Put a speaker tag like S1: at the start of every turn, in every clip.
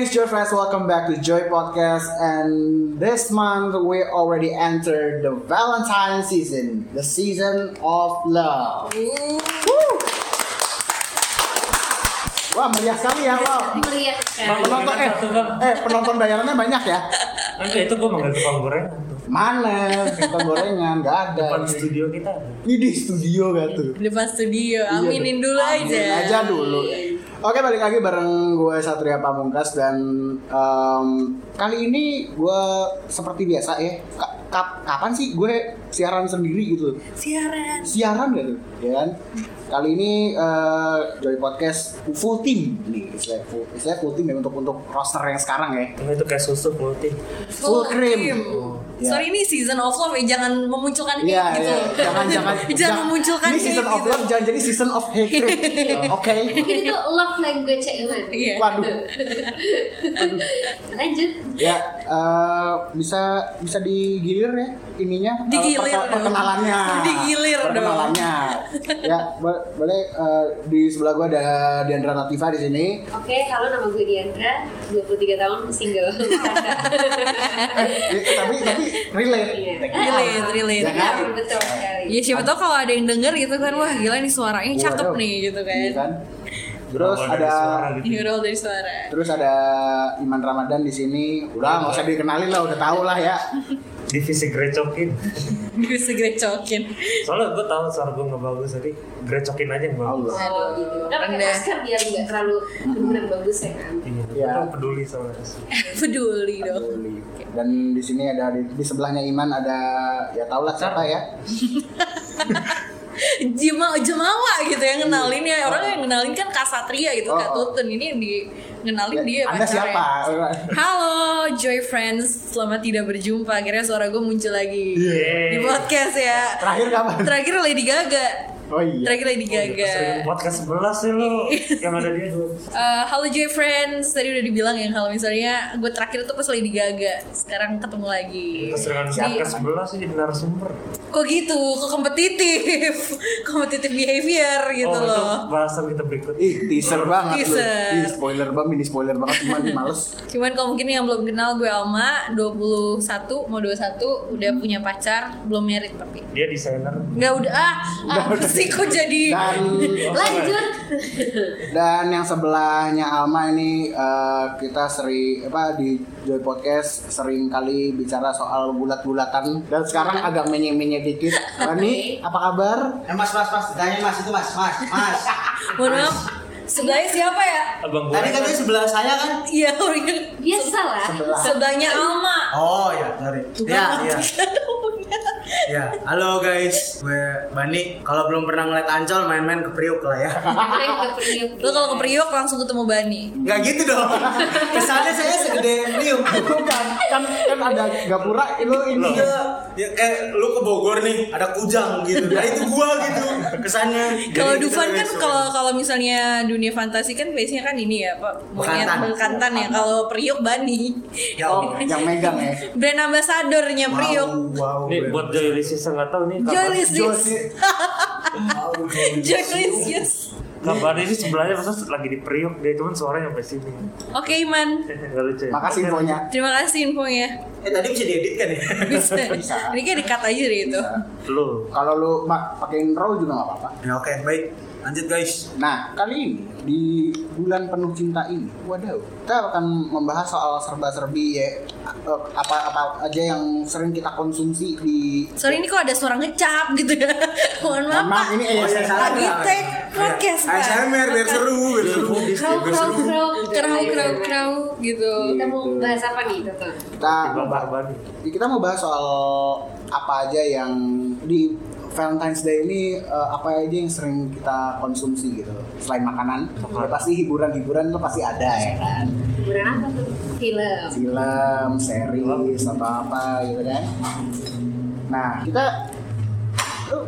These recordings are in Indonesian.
S1: is Joy friends. Welcome back to Joy Podcast. And this month we already entered the Valentine season, the season of love. Woo! Wah meriah sekali ya Wow.
S2: Melihat
S3: Bang,
S1: Penonton
S3: bang,
S2: kan.
S3: bang,
S1: eh,
S3: satu, bang.
S1: eh penonton bayarannya banyak ya?
S3: Nanti itu gue manggil tukang gorengan tuh.
S1: Mana? Kita gorengan nggak ada.
S3: Depan studio kita.
S1: Ini di studio gak tuh?
S4: depan studio
S1: Iya,
S4: aminin dulu aja
S1: Aminin aja dulu. Oke balik lagi bareng gue Satria Pamungkas dan em, kali ini gue seperti biasa ya. ka- kap- kapan sih gue siaran sendiri gitu?
S4: siaran
S1: Siaran gak tuh? Ya kan? Kali ini eh, Joy Podcast full team nih. Istilahnya full, istilahnya full team ya untuk untuk roster yang sekarang ya.
S3: Ini itu kayak susu putih.
S1: Full cream. Ya.
S4: Sorry ini season of love ya jangan memunculkan hate
S1: Iya,
S4: gitu.
S1: iya. jangan jangan
S4: jangan
S1: jang-
S4: memunculkan
S1: Ini
S4: hate
S1: season of
S4: gitu.
S1: love jangan jadi season of hatred. Oke.
S2: Mungkin itu love language Iman.
S4: Iya.
S1: Waduh.
S2: Lanjut.
S1: ya eh, bisa bisa digilir ya ininya eh,
S4: Digilir
S1: perke-
S4: dong.
S1: perkenalannya
S4: Digilir dong.
S1: perkenalannya ya bo- boleh eh, di sebelah gua ada Diandra Latifa di sini
S2: Oke, halo nama gue Diandra, 23 tahun single.
S1: Eh, tapi tapi relate Ya kan?
S2: Iya.
S4: Relate, relate.
S1: Jangan.
S2: Betul sekali.
S4: Ya siapa tahu kalau ada yang denger gitu kan wah gila nih suaranya cakep
S1: Waduh.
S4: nih gitu kan.
S1: Iya kan? terus
S3: Berawal dari
S1: ada
S3: suara gitu.
S4: Ini berawal dari suara.
S1: terus ada Iman Ramadan di sini udah nggak usah dikenalin lah udah tau lah ya
S3: Divisi grecokin.
S4: Bisa grecokin.
S3: Soalnya gue tahu suara gue nggak bagus jadi grecokin aja yang bagus.
S1: Allah
S2: Oh, gitu. Udah pakai
S4: Anda.
S2: masker biar nggak terlalu kedengeran bagus ya kan.
S3: Iya.
S1: Iya.
S3: Gue tuh peduli sama susu.
S4: Peduli dong.
S1: dan di sini ada di, di sebelahnya Iman ada ya tau lah siapa ya
S4: Jema Jemawa gitu yang kenalin ya orang yang kenalin kan Kasatria gitu
S1: Oh, oh.
S4: Kak
S1: Iya.
S4: Tutun ini yang di kenalin dia ya.
S1: Anda
S4: pacarnya.
S1: siapa
S4: Halo Joy Friends, selamat tidak berjumpa. Akhirnya suara gue muncul lagi di
S3: Yeay.
S4: podcast ya.
S1: Terakhir kapan?
S4: Terakhir Lady Gaga.
S1: Oh iya.
S4: Terakhir Lady Gaga.
S3: Sering podcast 11 sih lu yang ada dia dua.
S4: Eh, halo Joy Friends, tadi udah dibilang ya kalau misalnya gue terakhir itu pas Lady Gaga. Sekarang ketemu lagi.
S3: Keseringan
S4: Iya.
S3: podcast 11 sih jadi narasumber.
S4: Kok gitu? Kok kompetitif? kompetitif behavior gitu
S3: oh, itu
S4: loh.
S3: bahasan kita berikut.
S1: Ih, teaser banget lu.
S4: Teaser.
S1: Ih, spoiler banget, mini spoiler banget cuman males.
S4: Cuman kalau mungkin yang belum kenal gue Alma, 21, mau 21, udah punya pacar, belum merit tapi.
S3: Dia desainer.
S4: Nggak udah ah, apa sih kok jadi
S1: Dan
S2: Lanjut.
S1: dan yang sebelahnya Alma ini eh, kita sering apa di Joy Podcast sering kali bicara soal bulat-bulatan dan sekarang agak menye-menye dikit. Rani, apa kabar?
S5: Eh, mas, mas, mas, ditanya mas itu mas, mas, mas.
S4: Mohon maaf, sebelahnya siapa ya?
S3: Abang gue.
S5: Tadi katanya sebelah saya kan?
S4: Iya, orangnya.
S2: Biasa lah.
S1: Sebelah.
S4: sebelahnya Alma.
S5: Oh ya, sorry. Ya, ya, ya. Halo guys, gue Bani. Kalau belum pernah ngeliat Ancol, main-main ke Priuk lah ya.
S2: Main ke Priuk.
S4: Lo kalau ke Priok langsung ketemu Bani.
S5: Gak gitu dong. Kesannya saya segede Priuk.
S1: Bukan, kan kan ada Gapura, lu ini.
S5: Iya, ya, kayak lu ke Bogor nih, ada kujang gitu. Nah itu gua gitu. Kesannya.
S4: Kalau
S5: Jadi gitu,
S4: Dufan
S5: kita
S4: kan
S5: besok.
S4: kalau kalau misalnya dunia fantasi kan biasanya kan ini ya Pak monyet
S5: Bekantan.
S4: bekantan ya. Kalau Priok Bani,
S5: ya, Allah.
S1: Yang megang ya.
S4: brand ambassadornya Priok.
S5: Wow, wow.
S3: Nih buat Joy Ulysses yang nggak tahu nih kabar,
S4: Joylicious,
S5: Wow, ya.
S4: Joylicious.
S3: kabar ini sebelahnya masa lagi di Priok dia cuman suaranya sampai sini.
S4: Oke Iman,
S3: Nggak lucu ya?
S1: Makasih infonya.
S4: terima kasih infonya.
S5: Eh tadi bisa diedit kan ya?
S4: Bisa. Ini kayak dekat aja deh itu.
S3: Lu.
S1: Kalau lu mak pakein roll juga nggak apa-apa.
S5: Ya oke, baik. Lanjut guys.
S1: Nah, kali ini di bulan penuh cinta ini, waduh, kita akan membahas soal serba-serbi ya eh, apa-apa aja yang sering kita konsumsi di
S4: Sorry ini kok ada suara ngecap gitu ya. Mohon maaf.
S1: Maaf,
S4: Pak.
S1: ini eh,
S5: iya, salah.
S4: Lagi take podcast Pak.
S5: ASMR biar seru, biar seru.
S2: Crow, crow, crow.
S5: Iya,
S4: Kerau kerau kerau gitu.
S2: Kita mau iya. bahas apa nih, Toto?
S1: kita
S3: Tiba
S1: membahas-
S3: Barbani.
S1: kita mau bahas soal apa aja yang di Valentine's Day ini eh, apa aja yang sering kita konsumsi gitu selain makanan ya pasti hiburan-hiburan tuh pasti ada ya kan
S2: Hiburan apa tuh? Film.
S1: film, series, atau apa gitu kan. Nah, kita lu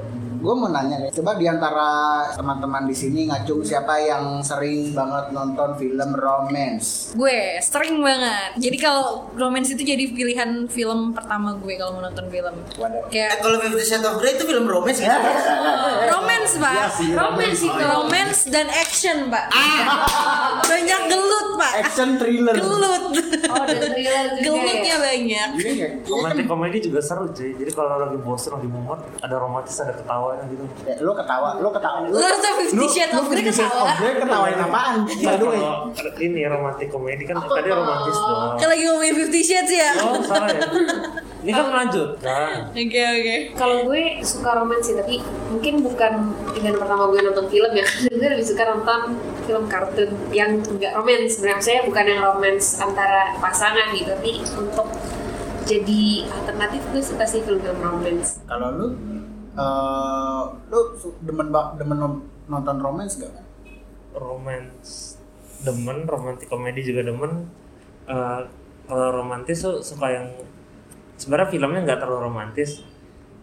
S1: Gue mau nanya deh, coba diantara teman-teman di sini ngacung siapa yang sering banget nonton film romance?
S4: Gue sering banget. Jadi kalau romance itu jadi pilihan film pertama gue kalau mau nonton film.
S1: Waduh.
S6: Eh,
S4: Kayak
S6: kalau Fifty Shades of Grey itu film romance ya?
S4: romance pak,
S1: Iya sih,
S4: romance
S1: romance.
S4: itu romance dan action pak. Banyak gelut pak,
S1: Action thriller.
S4: gelut,
S2: Oh, dan thriller juga
S4: gelutnya
S2: ya.
S4: banyak.
S1: Ini kayak-
S3: Komedi komedi juga seru cuy. Jadi kalau lagi bosen lagi mumet, ada romantis, ada ketawanya gitu.
S1: kayak Lo Eh, ketawa, lo ketawa.
S4: Lu rasa Fifty Shades of Grey ketawa?
S1: Gue ketawain apaan?
S3: Iya.
S1: By the way.
S3: Nah, Kalau ini romantis komedi kan tadi romantis doang.
S4: Kalau lagi ngomongin Fifty Shades ya?
S3: Oh salah ya. Ini kan lanjut. Nah,
S4: Oke oke.
S2: Kalau gue suka romans sih, tapi mungkin bukan pilihan pertama gue nonton film ya. gue lebih suka nonton film kartun yang nggak romans. Sebenarnya saya bukan yang romans antara pasangan gitu, tapi untuk jadi alternatif gue suka sih film-film romans.
S1: Kalau lu eh lu su- demen ba- demen nom- nonton romance gak?
S3: romance demen, romantis komedi juga demen. Eh, kalau romantis tuh suka yang sebenarnya filmnya nggak terlalu romantis,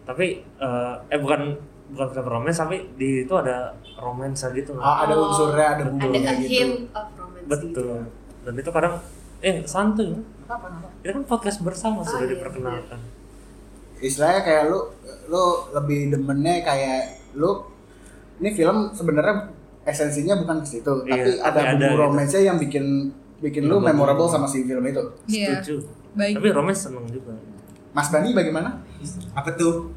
S3: tapi eh, eh bukan bukan film romance tapi di itu ada romansa gitu.
S1: Ah, ada
S2: Oh,
S1: unsurnya, ada
S2: Ada
S1: bumbunya
S2: a
S1: gitu.
S2: hint of romance. gitu.
S3: Betul. Dan itu kadang eh santuy.
S1: Apa, apa?
S3: Itu kan podcast
S4: Ah,
S3: bersama sudah
S2: iya,
S3: diperkenalkan.
S1: Istilahnya kayak lu lu lebih demennya kayak lu ini film sebenarnya esensinya bukan ke situ,
S3: Iya,
S1: tapi
S3: tapi
S1: ada
S3: ada
S1: bumbu
S3: gitu.
S1: romansnya yang bikin bikin lu
S3: Memorable.
S1: memorable sama si film itu.
S4: Iya.
S3: Setuju.
S4: Baik.
S3: Tapi romance seneng juga.
S1: Mas Bani bagaimana?
S6: Apa tuh?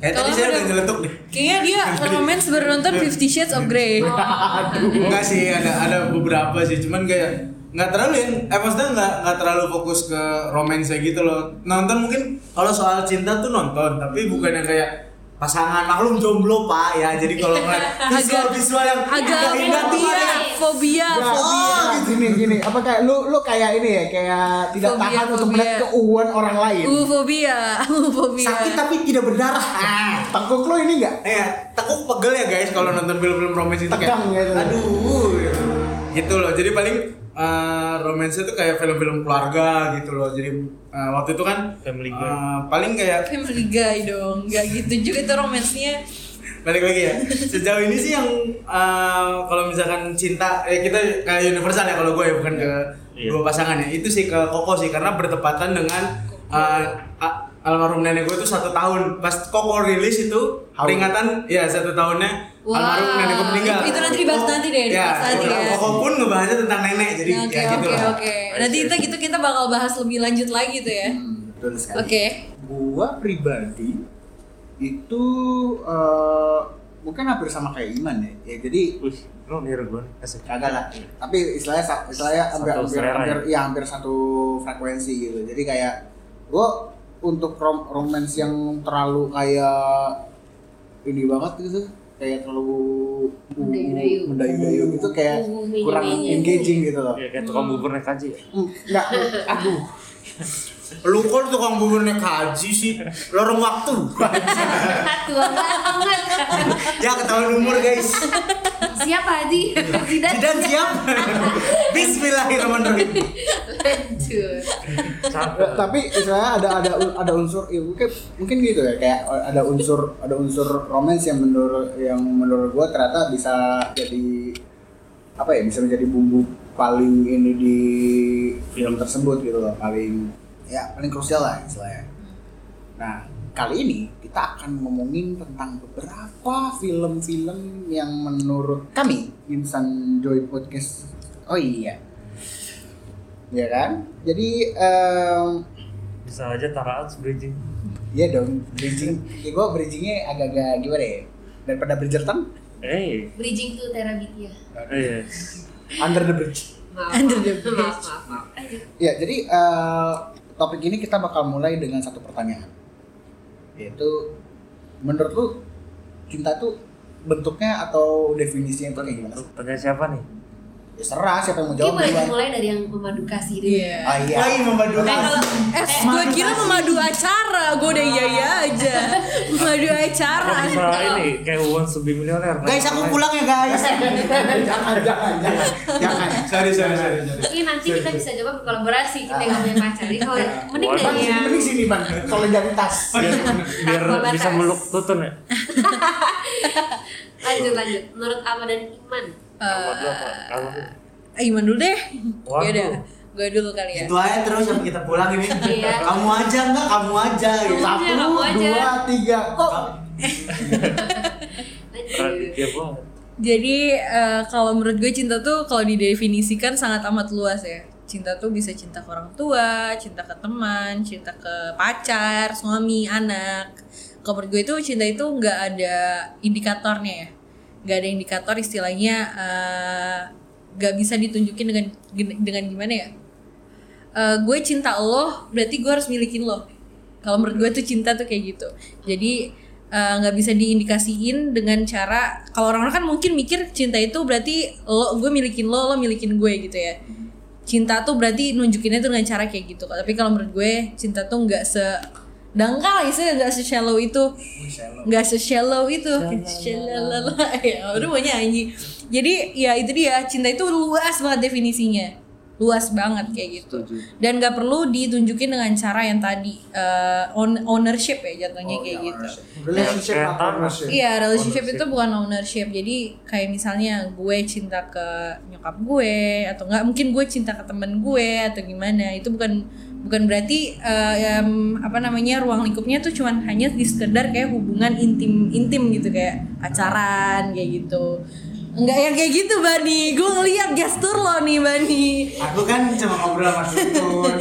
S6: Kayak tadi
S4: Kalau
S6: saya
S4: udah-
S6: udah nyeletuk deh.
S4: Kayaknya dia romance baru nonton Fifty Shades of Grey.
S6: Enggak sih, ada ada beberapa sih, cuman kayak nggak terlalu yang, eh maksudnya nggak nggak terlalu fokus ke romance gitu loh. Nonton mungkin kalau soal cinta tuh nonton, tapi bukan yang kayak pasangan maklum jomblo pak ya. Jadi kalau ngeliat visual visual yang
S4: Agak
S6: yang indah tuh
S4: fobia,
S6: ada yang-
S4: fobia, fobia.
S1: Ya, iya, gini gini apa kayak lu lu kayak ini ya kayak tidak
S4: Fobia,
S1: tahan untuk
S4: fobia.
S1: melihat keuuan orang lain.
S4: ya? Uh, fobia, uh, fobia.
S6: sakit tapi tidak berdarah. Ah.
S1: Tengkuk lu ini enggak?
S6: Eh, tekuk pegel ya guys kalau nonton film-film romance itu
S1: Tegang
S6: kayak,
S1: gitu.
S6: aduh, gitu loh. Jadi paling eh romance itu kayak film-film keluarga gitu loh. Jadi eh, waktu itu kan
S3: Family Guy.
S6: eh, paling kayak
S4: Family Guy dong, nggak gitu juga itu romansnya.
S6: balik lagi ya. Sejauh ini sih yang eh, kalau misalkan cinta, eh, kita kayak universal ya kalau gue ya bukan ke
S3: Iya.
S6: dua pasangan ya. Itu sih ke Koko sih karena bertepatan dengan eh, a- almarhum nenek gue itu satu tahun. Pas Koko rilis itu
S1: Haul.
S6: peringatan ya satu tahunnya
S4: Wah,
S6: almarhum nenek gue meninggal.
S4: itu- itu nanti dibahas nanti deh, dibahas nanti
S6: Koko-
S4: ya.
S6: Koko pun ngebahasnya tentang nenek jadi
S4: Nah, Oke
S6: ya gitu
S4: oke
S6: lah.
S4: oke. Nanti kita gitu kita bakal bahas lebih lanjut lagi tuh ya.
S1: Hmm, Betul sekali.
S4: Oke.
S1: gua pribadi itu eh, mungkin hampir sama kayak Iman ya. Ya jadi
S3: Wih, lu niru gue nih. Asik.
S1: kagak lah. Iya. Tapi istilahnya sa- istilahnya
S3: Satu
S1: hampir hampir,
S3: selera
S1: hampir ya hampir satu frekuensi gitu. Jadi kayak gua untuk rom romance yang terlalu kayak ini banget gitu kayak terlalu
S2: Mendayu-dayu.
S1: mendayu-dayu gitu kayak
S2: Uh,
S1: kurang
S2: menyenyi.
S1: engaging gitu loh.
S3: Ya, kayak
S4: Hmm.
S3: tukang bubur naik haji.
S1: Enggak, aduh.
S6: Lu kok tukang bubur naik haji sih? Lorong waktu.
S2: Tua banget.
S6: ya ketahuan umur guys.
S2: Siapa Adi? Tidak.
S6: Jidan siap. Bismillahirrahmanirrahim.
S2: Lanjut.
S1: Ya,
S3: Cakep.
S1: tapi istilahnya ada ada ada unsur ya mungkin mungkin gitu ya kayak ada unsur ada unsur romance yang menurut yang menurut gua ternyata bisa jadi apa ya bisa menjadi bumbu paling ini di film tersebut gitu loh paling ya paling krusial lah istilahnya nah kali ini kita akan ngomongin tentang beberapa film-film yang menurut kami Insan Joy Podcast oh iya ya kan jadi em,
S3: Bisa aja taraan bridging.
S1: Iya dong, bridging. Ya, gue bridgingnya agak-agak gimana ya? Daripada Bridgerton,
S3: Eh,
S2: Bridging to Terabithia.
S3: eh.
S1: under the bridge.
S2: Maaf,
S4: Under the
S2: maaf, maaf, maaf, maaf.
S1: Ya, jadi eh, topik ini kita bakal mulai dengan satu pertanyaan. Yaitu, menurut lu cinta tuh bentuknya atau definisinya itu kayak gimana? sih?
S3: Tanya siapa nih?
S1: Ya, serah siapa yang mau
S2: Ini
S1: jawab
S2: boleh
S1: duluan.
S2: dimulai dari yang memadukasi dulu.
S4: Iya.
S1: Ah iya.
S6: Lagi memadu.
S4: Eh, kalau eh, gue kira memadu acara, gue udah iya
S2: Ah.
S4: iya aja. Memadu
S3: Kok
S4: acara.
S3: bisa ini kayak wants to be millionaire?
S6: Guys, aku pulang ya guys.
S1: jangan, jangan, jangan,
S5: Ya,
S1: jangan.
S5: kan?
S6: sorry, sorry, sorry. sorry.
S2: Ini nanti kita bisa coba berkolaborasi kita nggak punya pacar. Jadi kalau mending
S3: Boleh.
S2: dari
S1: Bang, sini,
S2: yang
S1: mending sini bang, solidaritas.
S3: biar, biar
S2: Tanpa batas.
S3: bisa meluk tutun ya.
S2: lanjut lanjut menurut Alma dan Iman
S3: Kamu dulu apa? Kamu dulu.
S4: Eh, Iman dulu deh.
S3: Waduh.
S4: Yaudah, gue dulu kali ya.
S5: Itu aja terus sampai kita pulang ini.
S2: Iya.
S5: Kamu aja enggak, kamu aja gitu.
S2: Kamu aja, kamu aja.
S1: dua tiga kok
S2: lanjut
S3: Raditya banget.
S4: Jadi eh, kalau menurut gue cinta tuh kalau didefinisikan sangat amat luas ya. Cinta tuh bisa cinta ke orang tua, cinta ke teman, cinta ke pacar, suami, anak. Kalau menurut gue itu cinta itu nggak ada indikatornya ya. Nggak ada indikator istilahnya eh, nggak bisa ditunjukin dengan dengan gimana ya. Eh, gue cinta lo berarti gue harus milikin lo kalau menurut gue tuh cinta tuh kayak gitu jadi eh, nggak bisa diindikasiin dengan cara kalau orang-orang kan mungkin mikir cinta itu berarti lo gue milikin lo lo milikin gue gitu ya cinta tuh berarti nunjukinnya tuh dengan cara kayak gitu tapi kalau menurut gue cinta tuh nggak se dangkal ya, sih nggak se shallow itu nggak se shallow itu Shalala. ya udah mau nyanyi jadi ya itu dia cinta itu luas banget definisinya luas banget kayak gitu dan nggak perlu ditunjukin dengan cara yang tadi eh, own- ownership ya jatuhnya kayak gitu
S1: relationship
S3: Kayak
S1: apa
S3: tanah.
S1: ownership?
S4: Iya, relationship
S3: Ownership.
S4: itu bukan ownership. Jadi kayak misalnya gue cinta ke nyokap gue atau enggak mungkin gue cinta ke temen gue atau gimana. Itu bukan bukan berarti eh, em, apa namanya ruang lingkupnya tuh cuman hanya di sekedar kayak hubungan intim intim gitu kayak pacaran kayak gitu. Enggak yang kayak gitu, Bani. Gue ngeliat gestur lo nih, Bani.
S5: Aku kan cuma ngobrol sama Sultan.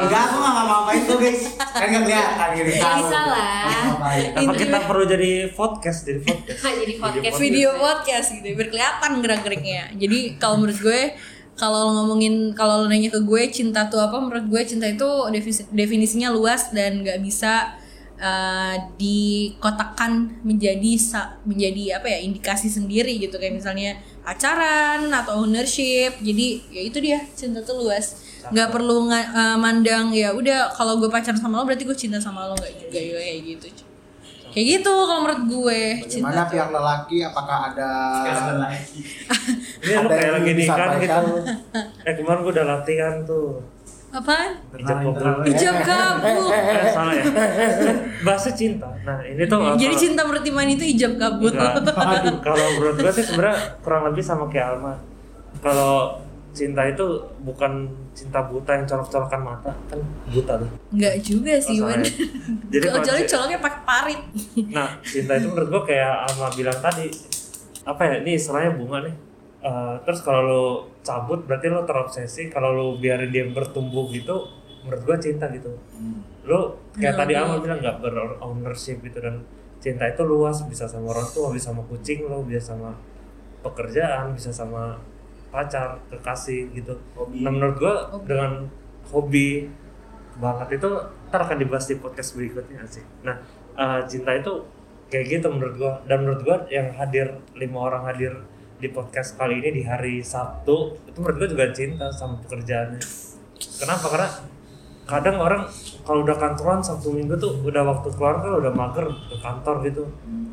S5: Enggak, aku enggak ngapa-ngapain tuh, guys. Kan enggak kelihatan gitu.
S2: Nggak bisa lah.
S5: Ngapain.
S3: Apa kita
S4: Intinya-
S3: perlu jadi podcast jadi podcast?
S2: Hah, jadi podcast.
S4: video podcast gitu biar kelihatan gerak-geriknya jadi kalau menurut gue kalau lo ngomongin kalau lo nanya ke gue cinta tuh apa menurut gue cinta itu defisi- definisinya luas dan nggak bisa eh, dikotakkan menjadi sa- menjadi apa ya indikasi sendiri gitu kayak misalnya acaran atau ownership jadi ya itu dia cinta tuh luas nggak perlu nga- eh, mandang ya udah kalau gue pacaran sama lo berarti gue cinta sama lo nggak juga ya kayak gitu kayak gitu kalau menurut gue
S1: Bagaimana
S4: tuh-
S1: pihak lelaki apakah ada
S5: Sekali lagi.
S3: Ini Iya, lu
S1: ada
S3: kayak
S1: yang
S3: lagi nikah gitu.
S1: disampaikan?
S3: Eh kemarin gua udah latihan tuh.
S4: Apaan?
S3: Hijab
S5: Terlalu,
S3: kabul.
S5: terlalu.
S4: Hijab kabul.
S3: Eh salah ya. Bahasa cinta. Nah ini tuh kalau-
S4: Jadi cinta menurut Iman itu hijab kabul.
S3: Enggak. Iya. kalau menurut gue sih sebenarnya kurang lebih sama kayak Alma kalau cinta itu bukan cinta buta yang colok-colokan mata kan buta tuh
S4: Enggak juga sih,
S3: Oh,
S4: Iman.
S3: sorry. Jadi
S4: Kalau
S3: kalau
S4: colok
S3: ci-
S4: coloknya pakai parit.
S3: nah cinta itu menurut gue kayak Alma bilang tadi apa ya ini istilahnya bunga nih Eh, terus kalau lo cabut berarti lo terobsesi kalau lo biarin dia bertumbuh gitu menurut gue cinta gitu lo kayak tadi Alma bilang nggak berownership gitu dan cinta itu luas bisa sama orang tua bisa sama kucing lo bisa sama pekerjaan bisa sama pacar kekasih gitu
S5: Hobi.
S3: nah menurut gue
S4: Hobi.
S3: dengan hobi banget itu ntar akan dibahas di podcast berikutnya sih nah eh, cinta itu kayak gitu menurut gue dan menurut gue yang hadir lima orang hadir di podcast kali ini di hari Sabtu itu menurut gue juga cinta sama pekerjaannya kenapa karena kadang orang kalau udah kantoran Sabtu Minggu tuh udah waktu keluar kan udah mager ke kantor gitu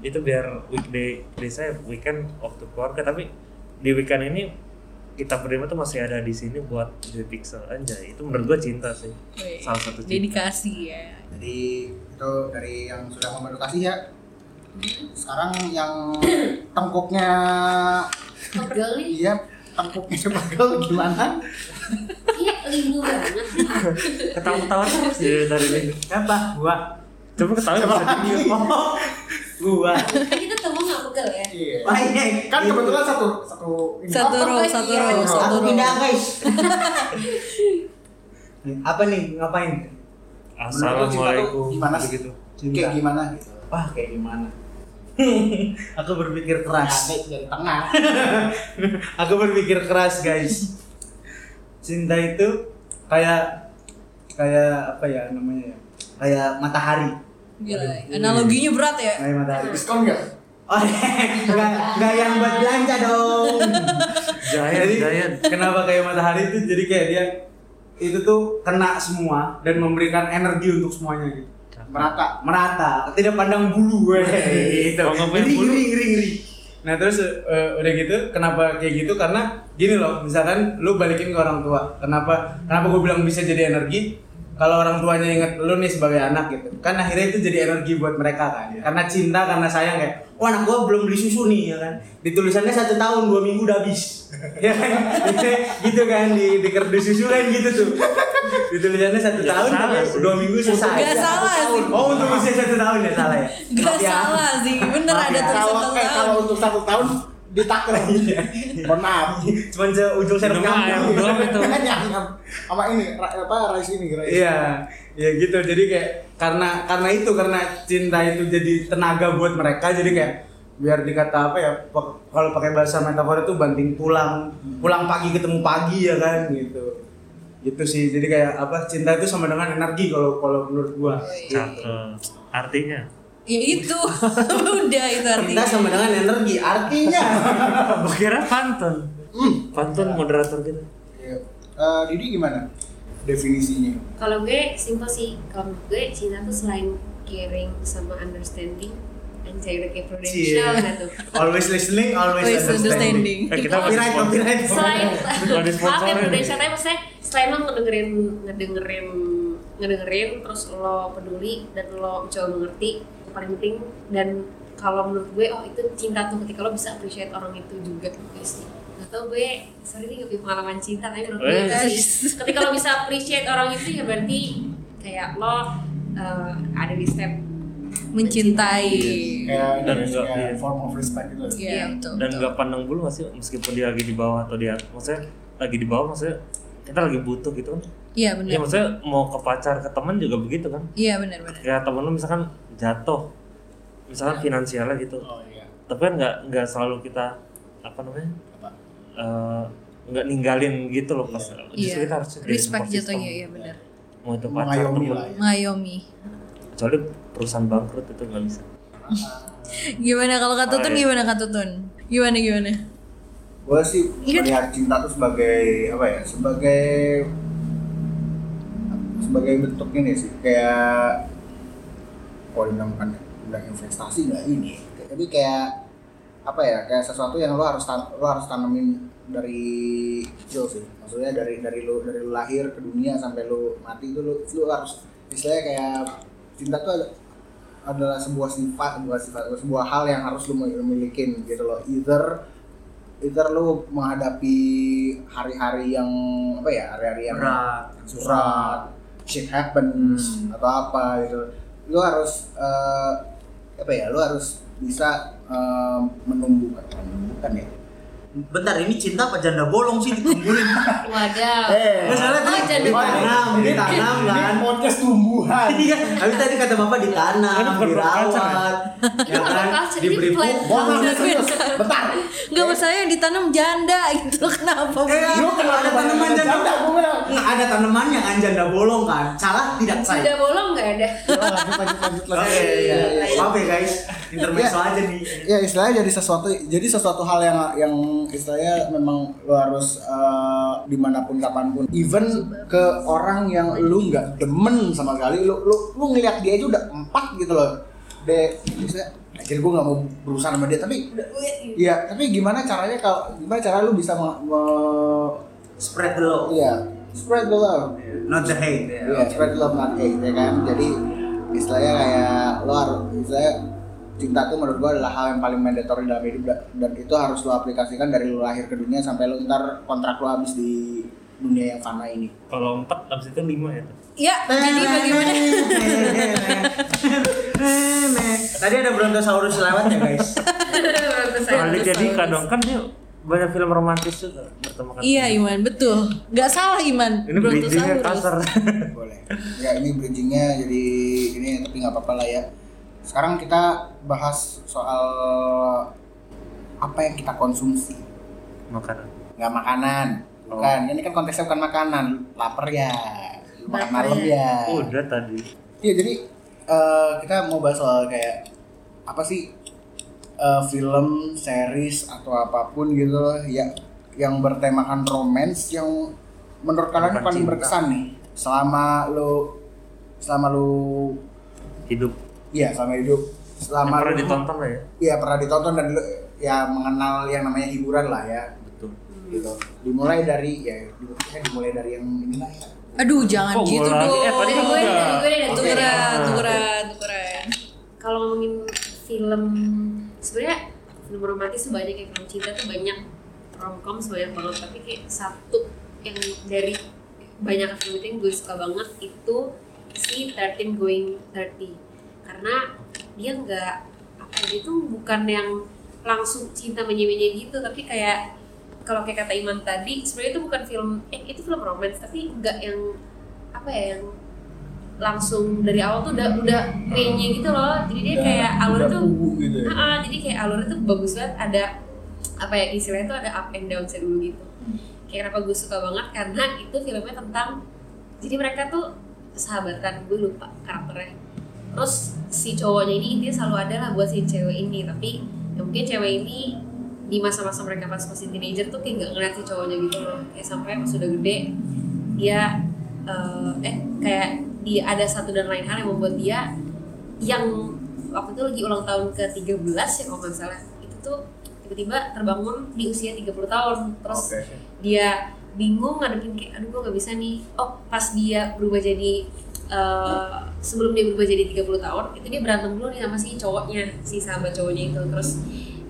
S3: itu biar weekday day saya weekend waktu keluarga tapi di weekend ini kita berdua tuh masih ada di sini buat Joy Pixel aja itu menurut gua cinta sih
S4: Weh,
S3: salah satu cinta
S4: Dedikasi ya.
S1: jadi itu dari yang sudah mengedukasi ya sekarang yang tengkuknya
S2: Pegel nih.
S1: iya tengkuknya pegel gimana
S2: Iya, lindu banget.
S3: ketawa-ketawa terus dari dari ini
S5: Siapa? Gua.
S3: cuma ketawa bisa di-
S5: Oh, Gua.
S2: Kan Kita temu nggak pegel ya?
S1: iya
S5: Wah, ini-
S1: kan kebetulan satu satu ini.
S4: Satu
S2: Oh,
S4: row,
S2: iya.
S4: satu row, satu row.
S5: guys. Apa nih? Ngapain?
S1: Menurut lu cinta tuh
S3: Assalamualaikum
S1: gimana sih?
S3: begitu
S1: kayak gimana gitu
S5: Wah, kayak gimana? Aku berpikir keras.
S1: Ada dari Nah, tengah
S5: Aku berpikir keras, guys. Cinta itu kayak kayak apa ya namanya ya? Kayak matahari.
S4: Gila, analoginya berat ya.
S5: Kayak matahari.
S1: diskon nggak
S5: Oh, nggak nggak yang buat belanja dong.
S3: Giant,
S5: jadi
S3: giant.
S5: kenapa kayak matahari itu jadi kayak dia itu tuh kena semua dan memberikan energi untuk semuanya gitu.
S1: merata
S5: Merata, tidak pandang bulu
S3: Iya,
S5: weh. gitu.
S3: Kalau nggak punya
S5: Jadi
S3: bulu.
S5: iri iri iri. Nah terus eh, udah gitu kenapa kayak gitu karena gini loh misalkan lu balikin ke orang tua kenapa kenapa gue bilang bisa jadi energi
S6: kalau orang tuanya inget lu nih sebagai anak gitu kan akhirnya itu jadi energi buat mereka kan
S3: Iya.
S6: karena cinta karena sayang kayak wah anak gua belum beli susu nih ya kan ditulisannya satu tahun dua minggu udah habis ya kan gitu, gitu kan di, di kerdus susu kan gitu tuh ditulisannya satu
S3: Ya,
S6: tahun
S3: salah
S6: tapi
S3: sih.
S6: dua minggu selesai
S4: Nggak
S6: Satu
S4: salah
S6: tahun.
S4: sih.
S6: oh untuk usia satu tahun ya salah ya
S4: Gak
S6: Maaf ya.
S4: salah sih, bener
S6: Maaf
S4: ada
S6: ya.
S4: tulisan
S1: Kalau eh, kalau
S4: tahun.
S1: untuk satu tahun ditaker.
S3: Iya.
S1: Mohon maaf.
S6: cuman seujung serap
S3: Minum air
S6: kamu
S3: doang Nah, itu.
S1: Nyam-nyam. Sama ini ra- apa rice ini rice.
S6: Iya, ya gitu. Jadi kayak karena karena itu karena cinta itu jadi tenaga buat mereka. Jadi kayak biar dikata apa ya pe- kalau pakai bahasa metafor itu banting pulang
S3: Hmm.
S6: pulang pagi ketemu pagi ya kan gitu gitu sih jadi kayak apa cinta itu sama dengan energi kalau kalau menurut gua
S3: Cakep. Artinya
S4: Ya itu, udah itu
S6: cinta
S4: artinya.
S6: sama dengan energi artinya
S3: Gua kira pantun. Pantun moderator gitu.
S1: Iya. Eh, Didi gimana definisinya?
S2: Kalau gue simple sih, kalau menurut gue cinta tuh selain caring sama understanding, anjay udah kayak prudential
S6: Cie.
S2: kan tuh.
S6: always listening always,
S4: Always understanding.
S6: understanding,
S3: Eh kita masih
S6: Copyright,
S3: sponsor.
S6: copyright,
S2: Selain
S3: Kalau di
S2: maaf ya
S3: sponsorin.
S2: prudential, tapi maksudnya selain lo ngedengerin ngedengerin ngedengerin, terus lo peduli dan lo coba mengerti itu paling penting dan kalau menurut gue oh itu cinta tuh ketika lo bisa appreciate orang itu juga gitu sih. Gak tau gue, sorry nih gak punya pengalaman cinta tapi menurut
S3: Eh.
S2: gue itu
S4: Wes.
S2: sih ketika lo bisa appreciate orang itu ya berarti kayak lo eh, ada di step
S4: Mencintai.
S1: Kayak
S3: Dan
S1: ini,
S3: enggak,
S1: kayak
S3: iya.
S1: form of respect gitu.
S4: Iya, betul.
S3: dan
S4: betul.
S3: nggak pandang bulu masih meskipun dia lagi di bawah atau di atas maksudnya lagi di bawah maksudnya kita lagi butuh gitu kan
S4: Iya
S3: ya
S4: benar.
S3: maksudnya mau ke pacar ke teman juga begitu kan
S4: Iya benar benar.
S3: kayak temen lu misalkan jatuh misalkan
S4: Iya.
S3: finansialnya gitu
S1: Oh iya.
S3: tapi kan nggak nggak selalu kita apa namanya
S1: Apa?
S3: eh, nggak ninggalin gitu loh pas
S4: Iya.
S3: justru kita harus jadi
S4: Respect
S3: support system.
S4: jatuhnya iya benar.
S3: mau itu pacar
S1: Mengayomi
S3: temen.
S1: lah. ya.
S4: Mengayomi.
S3: kecuali perusahaan bangkrut itu nggak bisa
S4: Gimana kalau kata Tutun
S3: Oh, iya.
S4: gimana kata Tutun? Gimana gimana?
S1: gue sih
S4: Iya.
S1: melihat cinta tuh sebagai apa ya sebagai sebagai bentuk ini sih kayak kalau dibilang bukan bilang investasi nggak ini tapi kayak apa ya kayak sesuatu yang lo harus tan- lo harus tanamin dari kecil sih maksudnya dari dari lo dari lo lahir ke dunia sampai lo mati itu lo lo harus istilahnya kayak cinta tuh ada- adalah sebuah sifat sebuah sifat sebuah hal yang harus lo milikin gitu loh either either lo menghadapi hari-hari yang apa ya hari-hari yang surat shit happens
S6: Hmm.
S1: atau apa gitu lu harus eh, apa ya lu harus bisa eh, menumbuhkan menumbuhkan ya
S7: Bentar, ini cinta apa janda bolong sih dikumpulin?
S2: wadah
S1: eh
S6: masalah
S2: Oh,
S6: tadi
S2: jadi-
S6: ditanam ditanam kan
S1: podcast tumbuhan
S6: Iya, habis tadi kata bapak
S3: Kan
S6: ditanam,
S3: bukan broadcaster,
S6: dirawat,
S2: Ini
S6: ya kan, Iya,
S2: bukan culture, ini
S6: diberi
S2: plan.
S1: Mohon
S6: pupuk.
S1: maaf, serius.
S6: kan?
S1: bentar
S4: Enggak masalah yang ditanam janda itu kenapa?
S3: Iya,
S6: Eh,
S4: Bu?
S6: lu kenapa ada tanaman janda?
S1: janda gue bilang
S6: Nggak ada tanamannya kan janda bolong kan? Salah tidak
S2: sudah
S6: saya.
S2: bolong nggak ada
S1: Yo, lanjut lanjut lanjut
S6: Oke,
S1: lanjut
S6: iya,
S1: Iya, iya.
S6: maaf ya guys, intermezzo aja nih.
S1: ya istilahnya jadi sesuatu jadi sesuatu hal yang yang istilahnya memang lo harus eh, dimanapun kapanpun even ke orang yang lu nggak demen sama sekali lu lu lu ngeliat dia aja udah empat gitu loh de misalnya akhirnya gue nggak mau berurusan sama dia tapi udah, ya tapi gimana caranya kalau gimana cara lu bisa me, me-
S7: Spread the love,
S1: ya spread the love
S7: not the hate. ya.
S1: Iya, spread love not hate ya kan. Jadi istilahnya kayak lo harus istilahnya cinta tuh menurut gua adalah hal yang paling mandatory dalam hidup da- dan itu harus lo aplikasikan dari lo lahir ke dunia sampai lo ntar kontrak lo habis di dunia yang fana ini.
S3: kalau empat abis itu lima ya
S4: Ya, jadi
S3: iya.
S4: bagaimana?
S6: Tadi ada brontosaurus lewat ya guys.
S4: gitu
S3: Balik jadi kadang kan dia banyak film romantis juga bertemu kan
S4: Iya Iman, betul. Gak salah Iman.
S3: ini bridgingnya
S4: Brontosaurus.
S3: kasar
S1: Boleh. Ya ini bridgingnya jadi ini tapi nggak apa-apa lah ya. Sekarang kita bahas soal apa yang kita konsumsi.
S3: makanan
S1: Nggak makanan. Bukan, ini kan konteksnya bukan makanan. Lapar ya. Lu Makan
S4: Lapar
S1: malam ya.
S3: udah tadi
S1: Iya jadi eh, kita mau bahas soal kayak apa sih eh, film, series atau apapun gitu loh ya yang bertemakan romance yang menurut kalian
S3: Bukan
S1: paling
S3: cinta.
S1: berkesan nih selama lo selama lo
S3: hidup
S1: iya selama hidup
S3: yang
S1: selama
S3: pernah
S1: lu-
S3: ditonton lah ya
S1: iya pernah ditonton dan lu ya mengenal yang namanya hiburan lah ya
S3: betul
S1: gitu dimulai dari ya dimulai dimulai dari yang ini lah ya
S4: Aduh jangan
S3: Kok gua
S4: gitu
S3: lagi?
S4: dong.
S3: Eh, tadi
S2: Dari gue, dari gue, dari gue.
S4: Tukeran,
S3: Oke. Nah.
S4: tukeran, tukeran.
S2: Kalau ngomongin film, sebenarnya film romantis tuh banyak yang film cinta tuh banyak romcom sebanyak banget. Tapi kayak satu yang dari banyak film itu yang gue suka banget itu si 13 Going 30 karena dia nggak apa ya, dia tuh bukan yang langsung cinta menye-menye gitu tapi kayak kalau kayak kata Iman tadi sebenarnya itu bukan film eh itu film romance tapi nggak yang apa ya yang langsung dari awal tuh udah udah menye gitu loh jadi dia kayak alur
S8: udah
S2: tuh
S8: kubu gitu ya.
S2: Ah, ah, jadi kayak alurnya tuh bagus banget ada apa ya istilahnya tuh ada up and down dulu gitu kayak kenapa gue suka banget karena itu filmnya tentang jadi mereka tuh sahabatan gue lupa karakternya terus si cowoknya ini intinya selalu ada lah buat si cewek ini tapi ya mungkin cewek ini di masa-masa mereka pas masih teenager tuh kayak nggak ngeliat si cowoknya gitu loh kayak sampai pas udah gede dia eh, eh kayak dia ada satu dan lain hal yang membuat dia yang waktu itu lagi ulang tahun ke 13 ya kalau nggak salah itu tuh tiba-tiba terbangun di usia 30 tahun terus
S8: Oke.
S2: dia bingung ngadepin kayak aduh gue nggak bisa nih oh pas dia berubah jadi eh, sebelum dia berubah jadi 30 tahun itu dia berantem dulu nih sama si cowoknya si sahabat cowoknya itu terus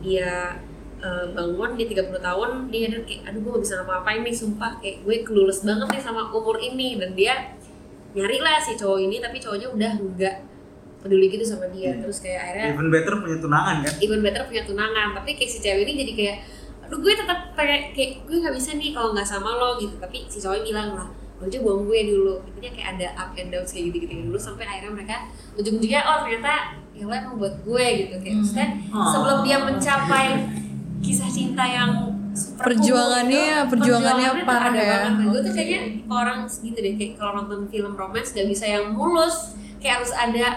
S2: dia eh, bangun di 30 tahun dia ada kayak aduh gue nggak bisa ngapa-ngapain nih sumpah kayak gue kelulus banget nih sama umur ini dan dia nyari lah si cowok ini tapi cowoknya udah nggak peduli gitu sama dia terus kayak akhirnya
S4: Iya.
S6: Even better punya tunangan kan?
S2: even better punya tunangan tapi kayak si cewek ini jadi kayak aduh gue tetap kayak kayak gue nggak bisa nih kalau nggak sama lo gitu tapi si cowok bilang lah lo aja buang gue dulu intinya kayak ada up and downs kayak gitu gitu dulu sampai akhirnya mereka ujung-ujungnya oh ternyata ya lo emang buat gue gitu kayak
S4: Hmm.
S2: maksudnya sebelum dia mencapai kisah cinta yang super cool
S4: Perjuangannya-
S2: gitu,
S4: perjuangannya
S2: perjuangannya tuh
S4: parah
S2: ada
S4: ya.
S2: banget. Dan gue tuh kayaknya orang segitu deh kayak kalau nonton film romance gak bisa yang mulus kayak harus ada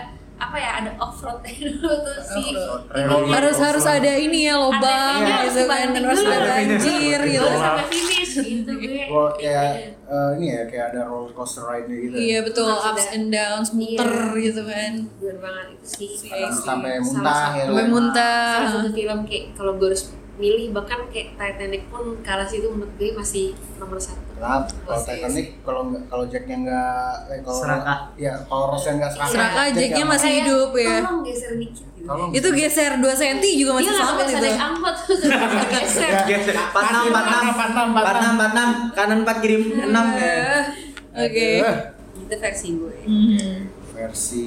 S2: apa ya ada off road dulu tuh si
S4: Off-road.
S2: ini-
S4: Harus harus ada ini ya lobang
S2: Ada yang
S4: gitu kan dan
S2: harus
S4: harus ada
S2: dibanting dulu.
S4: banjir gitu.
S2: Terus sampai finish gitu gue.
S1: Well, kayak eh, ini ya kayak ada roller coaster ride gitu.
S4: Iya betul
S2: Harus
S4: ups
S2: ada.
S4: and downs muter
S2: Iya.
S4: gitu kan.
S2: Bener banget itu sih.
S1: Ada
S2: Kayak
S1: sampai
S2: salah
S1: muntah
S2: satu-
S1: ya.
S4: Sampai muntah.
S2: Salah satu film kayak kalau gue harus milih bahkan kayak Titanic pun kalah sih itu menurut gue masih nomor satu.
S1: Nah,
S4: Oh,
S1: kalau
S2: Masih-
S1: Titanic kalau nggak kalau Jacknya nggak eh, kalau
S6: Serakah.
S1: ya kalau Rose nggak serakah.
S4: Serakah,
S1: Jack
S4: Jacknya
S1: nggak
S4: masih
S2: Kayak,
S4: hidup ya.
S2: Tolong geser dikit gitu.
S1: Tolong.
S4: Itu geser 2 cm juga
S2: Dia
S4: masih
S2: nggak
S4: selamat
S2: bisa
S4: itu.
S2: naik angkot terus dia geser.
S1: Iya.
S6: Geser. 46, 46, 46, 46, kanan 4 kiri 6 ya.
S4: Eh, Oke.
S1: Eh,
S2: Itu versi ya. gue.
S4: Mhm.
S1: Versi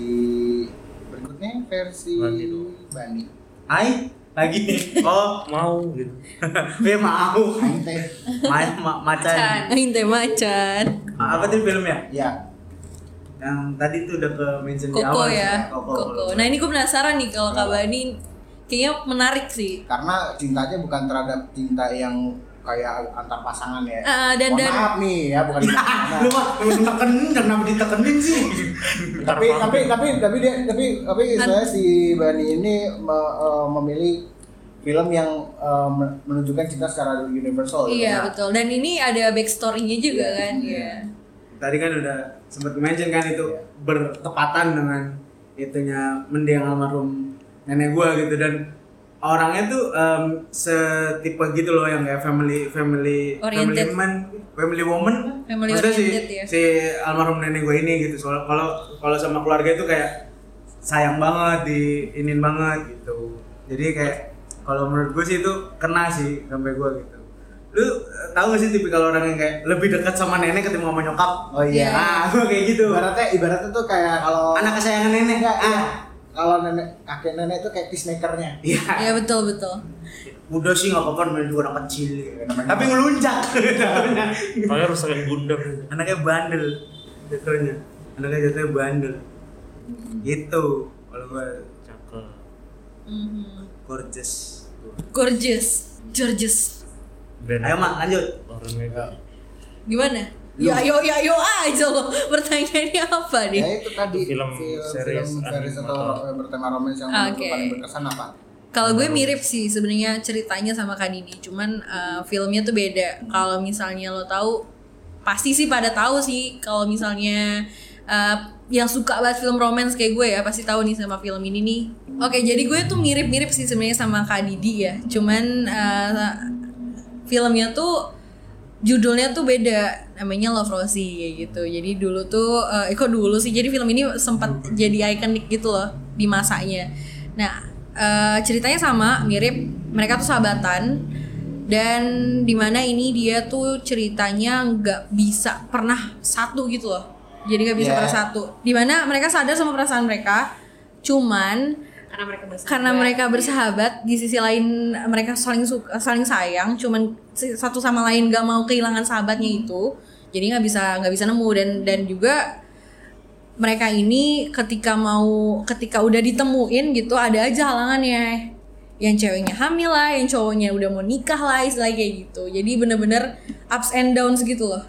S1: berikutnya versi
S3: Bani dong.
S1: Bani.
S6: Hai, lagi nih. Oh,
S3: mau gitu
S6: ya mau.
S1: Ante.
S6: Ma ma macan.
S4: Inte macan.
S6: Apa tuh filmnya?
S1: Ya.
S6: Yang tadi tuh udah ke mention di
S4: Koko
S6: awal.
S4: ya.
S6: Koko.
S4: Koko. Nah, ini gue penasaran nih kalau Kak Bani kayaknya menarik sih.
S1: Karena cintanya bukan terhadap cinta yang kayak antar pasangan ya.
S4: Ah, dan-
S1: Mohon
S4: dan-
S1: maaf nih ya bukan di mana-mana.
S6: Ah, Lu mah lu tekenin kenapa ditekenin sih?
S3: Ntar
S1: tapi
S3: malam.
S1: tapi tapi tapi dia tapi tapi
S4: Kan.
S1: saya si Bani ini me- eh, memilih film yang eh, men- menunjukkan cinta secara universal gitu.
S4: Iya, betul. Dan ini ada backstory-nya juga kan. Iya.
S6: Tadi kan udah sempat mention kan itu bertepatan dengan itunya mendiang almarhum nenek gua gitu dan orangnya tuh em, setipe gitu loh yang kayak family family
S4: Oriented.
S6: family man family woman
S4: Family
S6: Maksudnya si,
S4: oriented ya.
S6: si almarhum nenek gua ini gitu soal kalau kalau sama keluarga itu kayak sayang banget diinin banget gitu jadi kayak kalau menurut gue sih itu kena sih sampai gue gitu lu eh, tahu gak sih tipikal orang yang kayak lebih dekat sama nenek ketimbang sama nyokap
S1: Oh iya.
S6: ah gue kayak gitu
S1: Ibaratnya ibaratnya tuh kayak kalau
S6: anak kesayangan nenek
S1: enggak
S6: ah
S1: iya. Kalau nenek kakek nenek itu kayak peacemakernya.
S6: iya
S4: Iya, betul, betul.
S6: udah sih nggak apa-apa namanya juga orang kecil gitu. tapi ngelunjak
S3: ya. soalnya rusakin gundam
S6: anaknya bandel jatuhnya anaknya jatuhnya bandel gitu kalau gue
S3: cakep
S4: Mhm.
S6: gorgeous
S4: Gorgeous. Gorgeous.
S3: band
S6: ayo mak lanjut
S3: orang mega
S4: Gimana? Ya yo ya yo aja lo. Pertanyaannya apa nih?
S1: Ya itu tadi
S3: Film series
S1: film series atau
S3: animator.
S1: ro- bertema romance yang menurut lu
S4: Oke.
S1: paling berkesan apa?
S4: Kalau gue mirip sih sebenarnya ceritanya sama Kak Didi, cuman uh, filmnya tuh beda. Kalau misalnya lo tahu, pasti sih pada tahu sih. Kalau misalnya uh, yang suka banget film romance kayak gue ya pasti tahu nih sama film ini nih. Oke, jadi gue tuh mirip-mirip sih eh, sebenarnya sama Kak Didi ya. Cuman uh, filmnya tuh judulnya tuh beda namanya Love Rosie kayak gitu jadi dulu tuh eh kok dulu sih jadi film ini sempat jadi ikonik gitu loh di masanya nah eh, ceritanya sama mirip mereka tuh sahabatan dan dimana ini dia tuh ceritanya nggak bisa pernah satu gitu loh jadi nggak bisa
S1: Yeah.
S4: pernah satu dimana mereka sadar sama perasaan mereka cuman
S2: karena mereka bersahabat
S4: karena mereka bersahabat di sisi lain mereka saling suka, saling sayang cuman si- satu sama lain gak mau kehilangan sahabatnya itu jadi nggak bisa nggak bisa nemu dan dan juga mereka ini ketika mau ketika udah ditemuin gitu ada aja halangannya yang ceweknya hamil lah yang cowoknya udah mau nikah lah istilahnya kayak gitu jadi bener-bener ups and downs gitu loh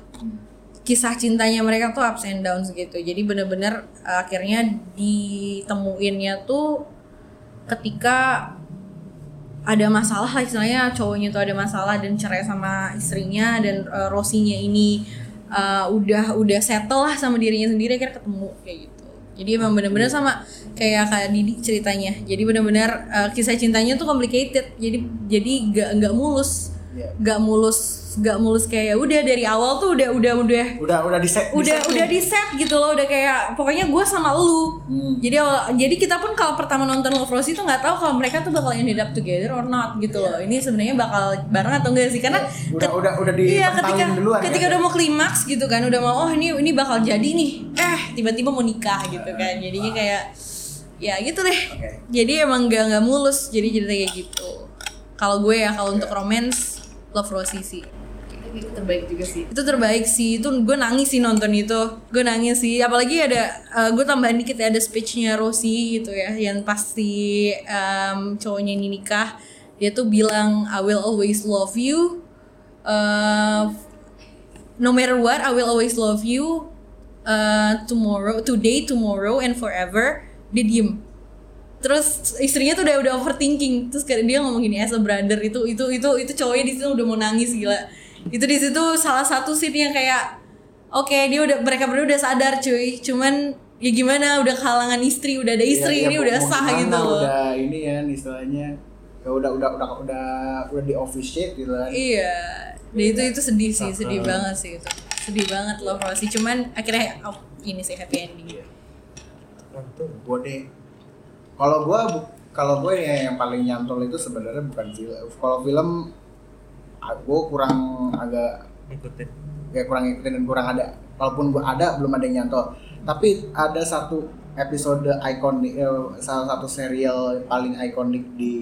S4: kisah cintanya mereka tuh ups and downs gitu jadi bener-bener uh, akhirnya ditemuinnya tuh ketika ada masalah lah istilahnya cowoknya tuh ada masalah dan cerai sama istrinya dan uh, Rosinya ini uh, udah udah settle lah sama dirinya sendiri akhirnya ketemu kayak gitu jadi emang bener-bener sama kayak kak Didi ceritanya jadi bener-bener uh, kisah cintanya tuh complicated jadi jadi nggak nggak mulus
S1: Iya.
S4: nggak mulus nggak mulus kayak "Ya udah dari awal tuh udah udah udah
S1: udah udah di set
S4: udah
S1: set nih.
S4: udah di set gitu loh udah kayak pokoknya gue sama lu
S1: Hmm.
S4: jadi awal- jadi kita pun kalau pertama nonton Love Rosie tuh nggak tahu kalau mereka tuh bakal ended up together or not gitu loh ini sebenarnya bakal bareng atau enggak sih karena
S1: udah udah udah di
S4: iya ketika
S1: duluan
S4: ketika
S1: ya.
S4: udah mau klimaks gitu kan udah mau oh ini ini bakal jadi nih eh tiba-tiba mau nikah gitu
S1: Nah,
S4: kan jadinya kayak ya gitu deh jadi emang nggak nggak mulus jadi cerita kayak gitu kalau gue ya kalau
S1: Iya.
S4: untuk romance Love Rosie sih
S2: Tapi itu terbaik juga sih
S4: itu terbaik sih itu gue nangis sih nonton itu gue nangis sih apalagi ada eh, gue tambahin dikit ya ada speechnya Rosie gitu ya yang pasti em, cowoknya ini nikah dia tuh bilang I will always love you Eh, no matter what I will always love you Eh, tomorrow today tomorrow and forever dia diem terus istrinya tuh udah udah overthinking terus kayak dia ngomong gini as a brother itu itu itu itu cowoknya di situ udah mau nangis gila itu di situ salah satu scene yang kayak oke dia udah mereka berdua udah sadar cuy cuman ya gimana udah kehalangan istri udah ada
S1: Iya,
S4: istri ini
S1: iya,
S4: udah
S1: mau
S4: sah
S1: gimana,
S4: gitu loh
S1: udah ini kan istilahnya ya udah udah udah udah udah di officiate gitu kan
S4: iya dan itu itu sedih sih sedih banget sih itu sedih banget loh Rosie cuman akhirnya oh, ini sih happy ending
S3: Untung.
S1: gue deh kalau gue kalau gue ya yang paling nyantol itu sebenarnya bukan film kalau film gue kurang agak
S3: Ngikutin.
S1: ya kurang ngikutin dan kurang ada walaupun gue ada belum ada yang nyantol tapi ada satu episode ikonik eh, salah satu serial paling ikonik di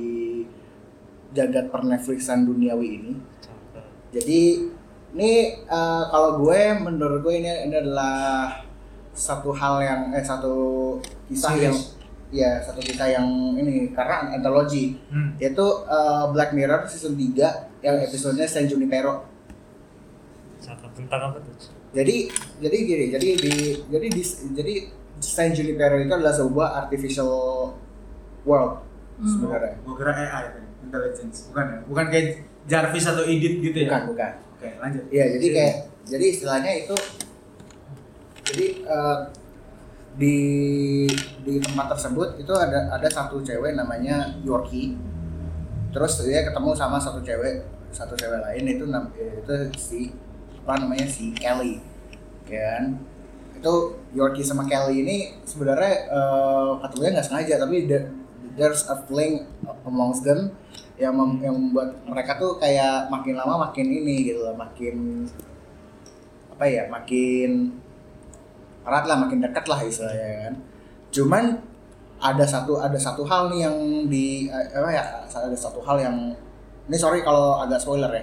S1: jagat per Netflixan duniawi ini
S3: Cakep.
S1: jadi ini eh, kalau gue menurut gue ini, ini adalah satu hal yang eh satu kisah yang ya satu kisah yang ini karena antologi
S6: Hmm.
S1: yaitu eh, Black Mirror season 3 yang episodenya San Junipero.
S3: Cakep. Tentang apa tuh?
S1: Jadi jadi gini, jadi di jadi di jadi San Junipero itu adalah sebuah artificial world
S4: Hmm.
S1: sebenarnya.
S6: Gue kira AI tadi, intelligence. Bukan ya? Bukan kayak Jarvis atau Edit gitu ya?
S1: Bukan, bukan.
S6: Oke, lanjut.
S1: Iya, jadi kayak jadi istilahnya itu jadi eh, di di tempat tersebut itu ada ada satu cewek namanya Yorkie. Terus dia ketemu sama satu cewek satu cewek lain itu nam- itu si apa namanya si Kelly. Ya kan? Itu Yorkie sama Kelly ini sebenarnya eh, ketemunya nggak sengaja tapi the- there's a fling amongst them yang mem- yang membuat mereka tuh kayak makin lama makin ini gitu loh, makin apa ya, makin erat lah, makin dekat lah istilahnya kan. Cuman ada satu ada satu hal nih yang di eh, apa ya, ada satu hal yang ini sorry kalau agak spoiler ya.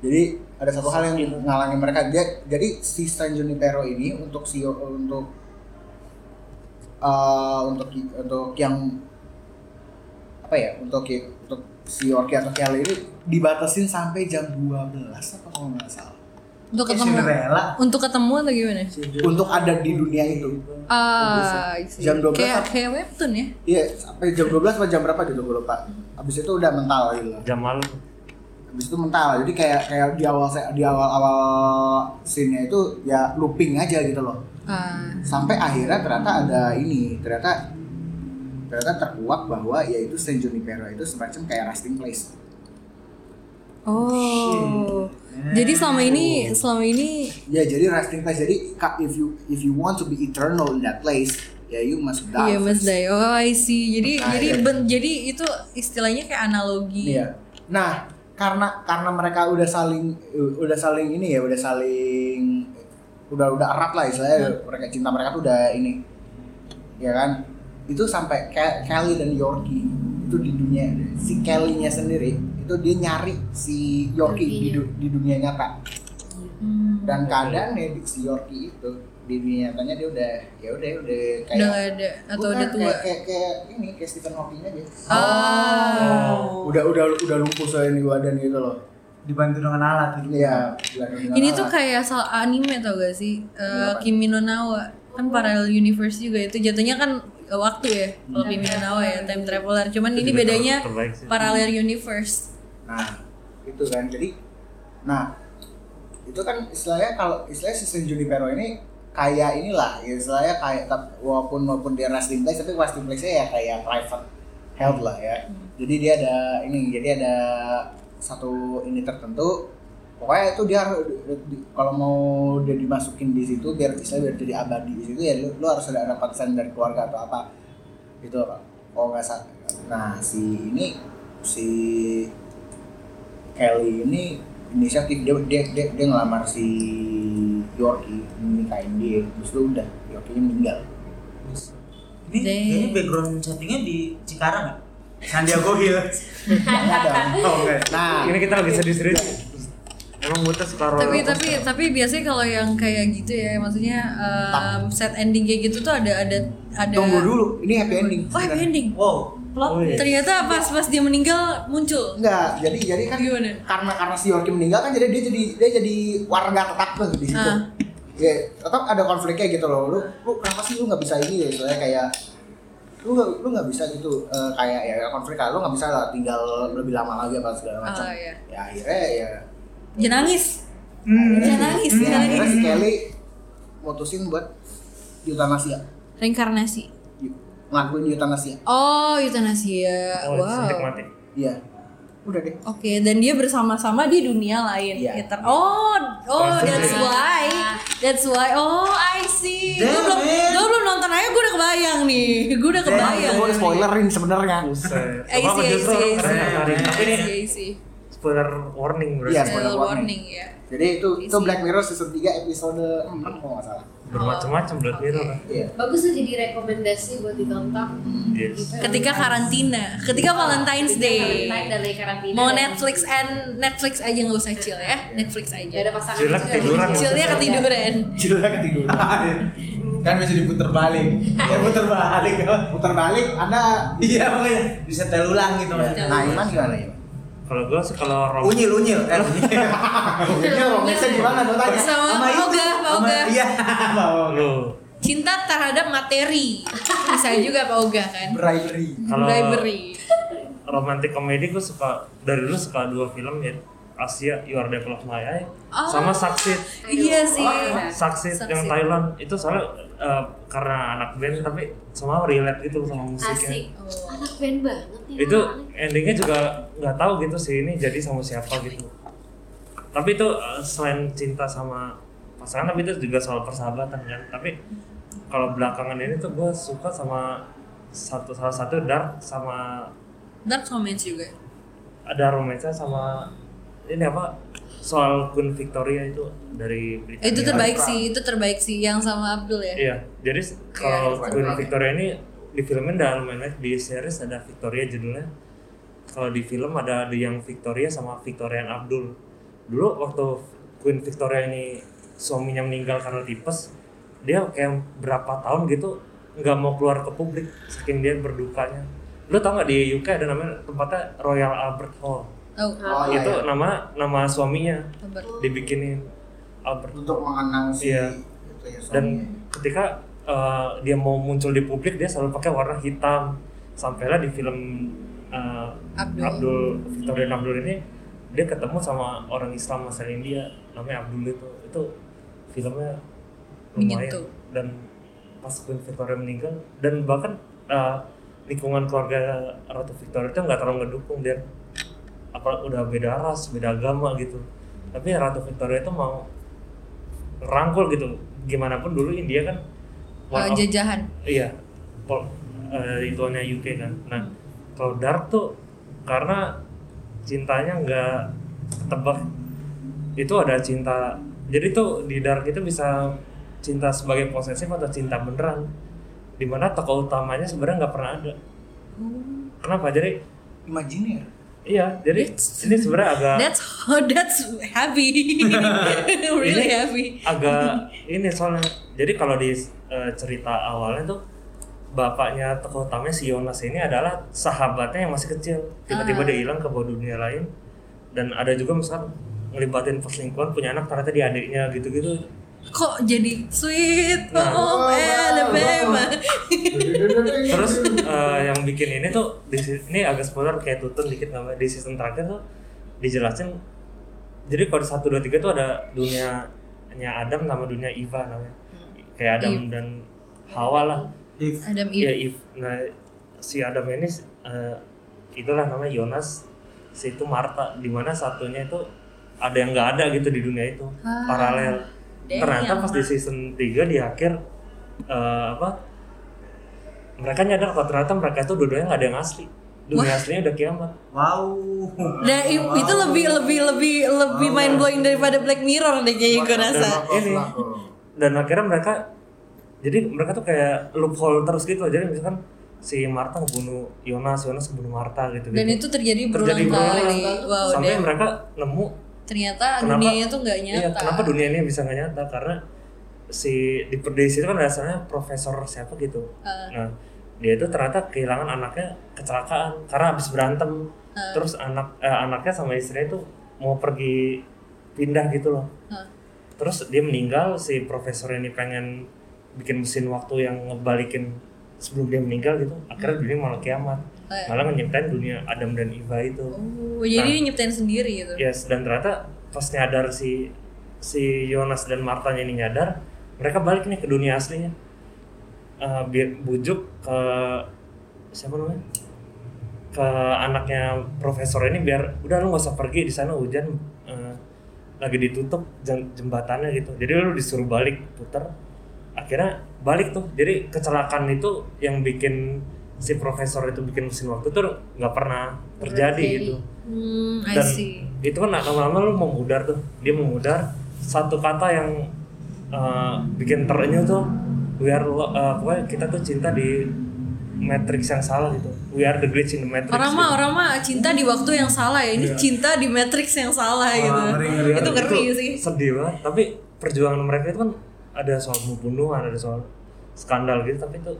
S1: Jadi ada satu hal yang ngalangin mereka. Dia, jadi si San Junipero ini untuk si untuk eh, untuk untuk yang apa ya untuk untuk si Orki atau Kelly ini dibatasin sampai jam 12 apa kalau nggak salah
S4: untuk
S6: Kayak
S4: ketemu
S6: Cinderella.
S4: untuk ketemu atau gimana
S1: untuk ada di dunia itu
S4: ah I see.
S1: Jam 12
S4: kayak
S1: apa?
S4: kayak webtoon ya
S1: iya sampai jam 12 atau jam berapa gitu gue lupa abis itu udah mental gitu loh
S3: Jam malam.
S1: abis itu mental jadi kayak kayak di awal di awal awal scene-nya itu ya looping aja gitu loh
S4: ah
S1: sampai akhirnya ternyata ada ini ternyata ternyata terkuak bahwa ya yaitu San Junipero itu semacam kayak resting place
S4: oh Jadi selama ini selama ini
S1: Ya jadi resting place. Jadi ka- if you if you want to be eternal in that place, ya you must die.
S4: Iya Mas Day. Oh I see. Jadi
S1: Nah,
S4: jadi
S1: iya.
S4: ben- jadi itu istilahnya kayak analogi.
S1: Iya. Nah, karena karena mereka udah saling udah saling ini ya, udah saling udah udah erat lah
S4: Hmm.
S1: istilahnya mereka cinta mereka tuh udah ini. Ya kan? Itu sampai Ke- Kelly dan Yorkie itu di dunia si Kelly-nya sendiri itu dia nyari si Yorkie di, du- di dunia nyata
S4: Hmm.
S1: dan keadaannya di si Yorkie itu di dunia nyatanya dia udah ya udah udah kayak
S4: Udah nggak ada atau
S1: Bukan,
S4: udah tua.
S1: kayak, kayak, kayak ini kayak Stephen Hawking aja
S4: Oh.
S1: udah udah udah lumpuh soalnya di badan gitu loh
S6: dibantu dengan alat gitu.
S1: Iya, bulan
S4: Ini tuh kayak soal anime tau gak sih? Eh,
S1: Iya, Apa?
S4: Kimi no Nawa kan parallel universe juga itu jatuhnya kan waktu ya kalau
S1: Iya.
S4: Kimi no Nawa ya time traveler. Cuman ini
S3: Jadi
S4: bedanya
S3: terbaik sih.
S4: parallel universe.
S1: Nah, itu kan. Jadi nah itu kan istilahnya kalau istilahnya sistem Junipero ini kayak inilah ya istilahnya kayak tap- walaupun walaupun dia resting place tapi resting place nya ya kayak private health lah ya jadi dia ada ini jadi ada satu ini tertentu pokoknya itu dia harus- di- di- kalau mau dia dimasukin di situ biar istilahnya biar jadi abadi di situ ya lu, lu harus ada ada persen dari keluarga atau apa gitu kalau nggak salah nah si ini si Kelly ini inisiatif dia dia dia, dia ngelamar si Yorkie menikahin dia terus lu udah Yorkie meninggal
S6: Ini,
S4: Deh.
S6: ini background settingnya di Cikarang nggak? Sandiago Hill.
S1: Nggak ada
S6: Oh, oke.
S1: nah
S3: Ini kita lagi serius-serius. Emang buta separuh.
S4: tapi tapi tapi biasanya kalau yang kayak gitu ya maksudnya um, set ending kayak gitu tuh ada ada ada
S1: tunggu dulu ini happy ending
S4: oh happy ending
S6: Wow.
S4: plot
S3: Oh, iya.
S4: ternyata pas pas dia meninggal muncul
S1: enggak jadi jadi kan
S4: Gimana?
S1: karena karena si Yorkie meninggal kan jadi dia jadi dia jadi warga tetap tuh di situ
S4: Ah.
S1: ya tetap ada konfliknya gitu loh lu lu kenapa sih lu nggak bisa ini ya soalnya kayak lu nggak lu nggak bisa gitu eh, kayak ya konflik lah, lu nggak bisa lah tinggal lebih lama lagi apa segala macam
S4: Ah, iya.
S1: ya akhirnya ya
S4: jangan nangis jangan nangis
S1: Terus
S4: jangan
S1: akhirnya
S4: nangis
S1: si Kelly mutusin buat eutanasia
S4: reinkarnasi
S1: ngelakuin eutanasia
S4: oh eutanasia
S3: Oh, disuntik
S4: wow
S3: mati.
S1: iya udah deh
S4: Oke, dan dia bersama-sama di dunia lain.
S1: Iya.
S4: Etern- Oh, oh,
S3: Pasti.
S4: that's why, that's why. Oh, I see. Gue
S6: Damn
S4: belum,
S6: it.
S4: gua belum nonton aja, gue udah kebayang nih. Gue udah
S1: Nah,
S4: kebayang.
S1: itu gue spoilerin sebenarnya
S3: Buset.
S4: I
S3: Apa
S4: see, I
S3: justru
S4: see, I
S3: keren
S6: see.
S3: kemarin. Tapi ini
S4: Iya, sih.
S3: spoiler warning berarti.
S1: Iya,
S4: Spoiler
S1: spoiler warning.
S4: warning ya.
S1: jadi itu itu
S4: Isi.
S1: Black Mirror season 3 episode 4 kalau nggak salah
S3: Bermacam-macam Black Mirror. kan.
S1: iya
S2: Bagus tuh jadi rekomendasi buat ditonton.
S3: Yes.
S4: Ketika karantina, ketika Valentine's Day.
S2: Valentine dan dari karantina.
S4: Mau Netflix and Netflix aja nggak usah chill ya, Netflix
S2: Gak ada
S4: aja.
S2: pasangan.
S3: Jelek
S2: juga.
S3: tiduran.
S4: Chillnya ya. ketiduran.
S1: Gila ketiduran
S5: kan bisa diputer balik ya puter balik
S1: putar balik anda
S5: iya makanya disetel ulang gitu mas
S1: nah Iman gimana ya?
S3: Kalau gue sih kalau rom
S5: unyil unyil eh unyil.
S1: Ini romansa
S2: iya.
S1: gimana gue tanya
S4: Sama
S5: Sama
S4: Pak
S5: itu,
S4: Oga, Pak
S5: sama-
S4: Oga.
S5: iya mau
S3: lu
S4: Cinta terhadap materi. Bisa juga Pak Oga kan.
S1: bribery
S3: Kalau-
S4: Bribery.
S3: romantic komedi gue suka dari dulu suka dua film ya Asia You Are the Apple of My Eye
S4: Oh.
S3: sama Succeed
S4: Iya sih.
S3: Succeed yang
S4: Succeed.
S3: Thailand itu soalnya eh, karena anak band tapi semua relate gitu sama
S2: Asik.
S3: musiknya
S4: Oh.
S2: Anak band banget ya. nih.
S3: itu
S2: anak.
S3: endingnya juga nggak tahu gitu sih ini jadi sama siapa gitu tapi itu eh, selain cinta sama pasangan tapi itu juga soal persahabatan kan tapi kalau belakangan ini tuh gue suka sama satu salah satu dark sama
S4: Dark comments juga.
S3: ada romance sama ini apa soal Queen Victoria itu dari Britania.
S4: Eh, itu terbaik sih, itu terbaik sih yang sama Abdul ya.
S3: Iya, jadi s- kalau
S4: Iya,
S3: Queen
S4: terbaik.
S3: Victoria ini di filmnya udah lumayan banyak. di series ada Victoria judulnya. Kalau di film ada The Young Victoria sama Victorian Abdul. Dulu waktu Queen Victoria ini suaminya meninggal karena tipes, dia kayak berapa tahun gitu nggak mau keluar ke publik saking dia berdukanya. Lu tau nggak di UK ada namanya tempatnya Royal Albert Hall.
S4: Oh,
S1: oh iya
S3: itu
S1: iya.
S3: nama nama suaminya
S4: kabar.
S3: dibikinin Albert
S1: untuk mengenang si
S3: Iya.
S1: itu ya,
S3: dan
S1: suaminya.
S3: ketika uh, dia mau muncul di publik dia selalu pakai warna hitam sampailah di film uh,
S4: Abdul.
S3: Abdul. Victorian Abdul ini dia ketemu sama orang Islam asal India namanya Abdul itu itu filmnya lumayan
S4: Menyentuh.
S3: dan pas Queen Victoria meninggal dan bahkan uh, lingkungan keluarga Ratu Victoria itu nggak terlalu ngedukung dia apa udah beda ras beda agama gitu tapi Ratu Victoria itu mau rangkul gitu gimana pun dulu India kan one
S4: Eh,
S3: of-
S4: jajahan
S3: iya pol eh, dari tuannya UK kan nah kalau dark tuh karena cintanya nggak tebak itu ada cinta jadi tuh di dark itu bisa cinta sebagai posesif atau cinta beneran dimana tokoh utamanya sebenarnya nggak pernah ada kenapa jadi
S1: Imajiner.
S3: iya jadi ini sebenarnya agak
S4: that's how that's happy really happy
S3: agak ini soalnya jadi kalau di eh, cerita awalnya tuh bapaknya tokoh utamanya si Yonas ini adalah sahabatnya yang masih kecil tiba-tiba dia hilang ke bawah dunia lain dan ada juga misalkan ngelibatin perselingkuhan punya anak ternyata di adiknya gitu-gitu
S4: kok jadi sweet Oh,
S3: Nah.
S4: home Alabama
S3: terus eh, yang bikin ini tuh di si- ini agak spoiler kayak tutun dikit nggak apa- di season terakhir tuh dijelasin jadi kalau di satu dua tiga tuh ada dunianya Adam sama dunia Eva namanya kayak Adam dan Hawa lah
S4: Adam
S3: Iya,
S4: Eve
S3: if nah, si Adam ini eh, itulah namanya Yonas, si itu Marta, di mana satunya itu ada yang nggak ada gitu di dunia itu
S4: Ah,
S3: paralel.
S4: damn. ya
S3: Ternyata pas di season 3 di akhir eh, apa mereka nyadar kalau ternyata mereka itu dua-duanya nggak ada yang asli. Dunia aslinya udah kiamat.
S6: Wow.
S4: Nah, i- itu lebih lebih lebih lebih mind blowing daripada Black Mirror deh kayaknya gue rasa.
S3: Ini dan akhirnya mereka jadi mereka tuh kayak loophole terus gitu. Jadi misalkan si Marta ngebunuh Yonas, Yonas ngebunuh Marta gitu.
S4: Dan itu terjadi berulang kali. Wow,
S3: sampai
S4: damn.
S3: mereka nemu
S4: Ternyata
S3: Kenapa-
S4: dunianya tuh nggak
S3: iya,
S4: nyata.
S3: kenapa dunia ini bisa nggak nyata karena si di perdesi itu kan dasarnya profesor siapa gitu nah dia itu ternyata kehilangan anaknya kecelakaan karena habis berantem terus anak eh, anaknya sama istrinya itu mau pergi pindah gitu loh
S4: Hah.
S3: terus dia meninggal si profesor ini pengen bikin mesin waktu yang ngebalikin sebelum dia meninggal gitu
S4: Hmm.
S3: akhirnya dunia malah kiamat
S4: Eh.
S3: malah menyiptain dunia Adam dan Eva itu
S4: Oh,
S3: Nah.
S4: jadi dia nyiptain sendiri gitu.
S3: Yes, dan ternyata pas nyadar si si Yonas dan Martanya ini nyadar, mereka balik nih ke dunia aslinya. Eh, bi- bujuk ke siapa namanya? Ke anaknya profesor ini biar udah lu gak usah pergi di sana hujan eh, lagi ditutup jem- jembatannya gitu. Jadi lu disuruh balik puter. Akhirnya balik tuh. Jadi kecelakaan itu yang bikin si profesor itu bikin mesin waktu tuh nggak pernah terjadi gitu
S4: Hmm, I
S3: dan
S4: see.
S3: itu kan lama-lama lu memudar tuh dia memudar satu kata yang uh, bikin terenyuh tuh we are lo- uh, pokoknya kita tuh cinta di matrix yang salah gitu we are the glitch in the matrix Iya.
S4: Orang mah orang mah cinta di waktu yang salah ya. Ini cinta di Matrix yang salah gitu. Itu ngeri sih.
S3: Gitu. sedih banget tapi perjuangan mereka itu kan ada soal pembunuhan ada soal skandal gitu tapi itu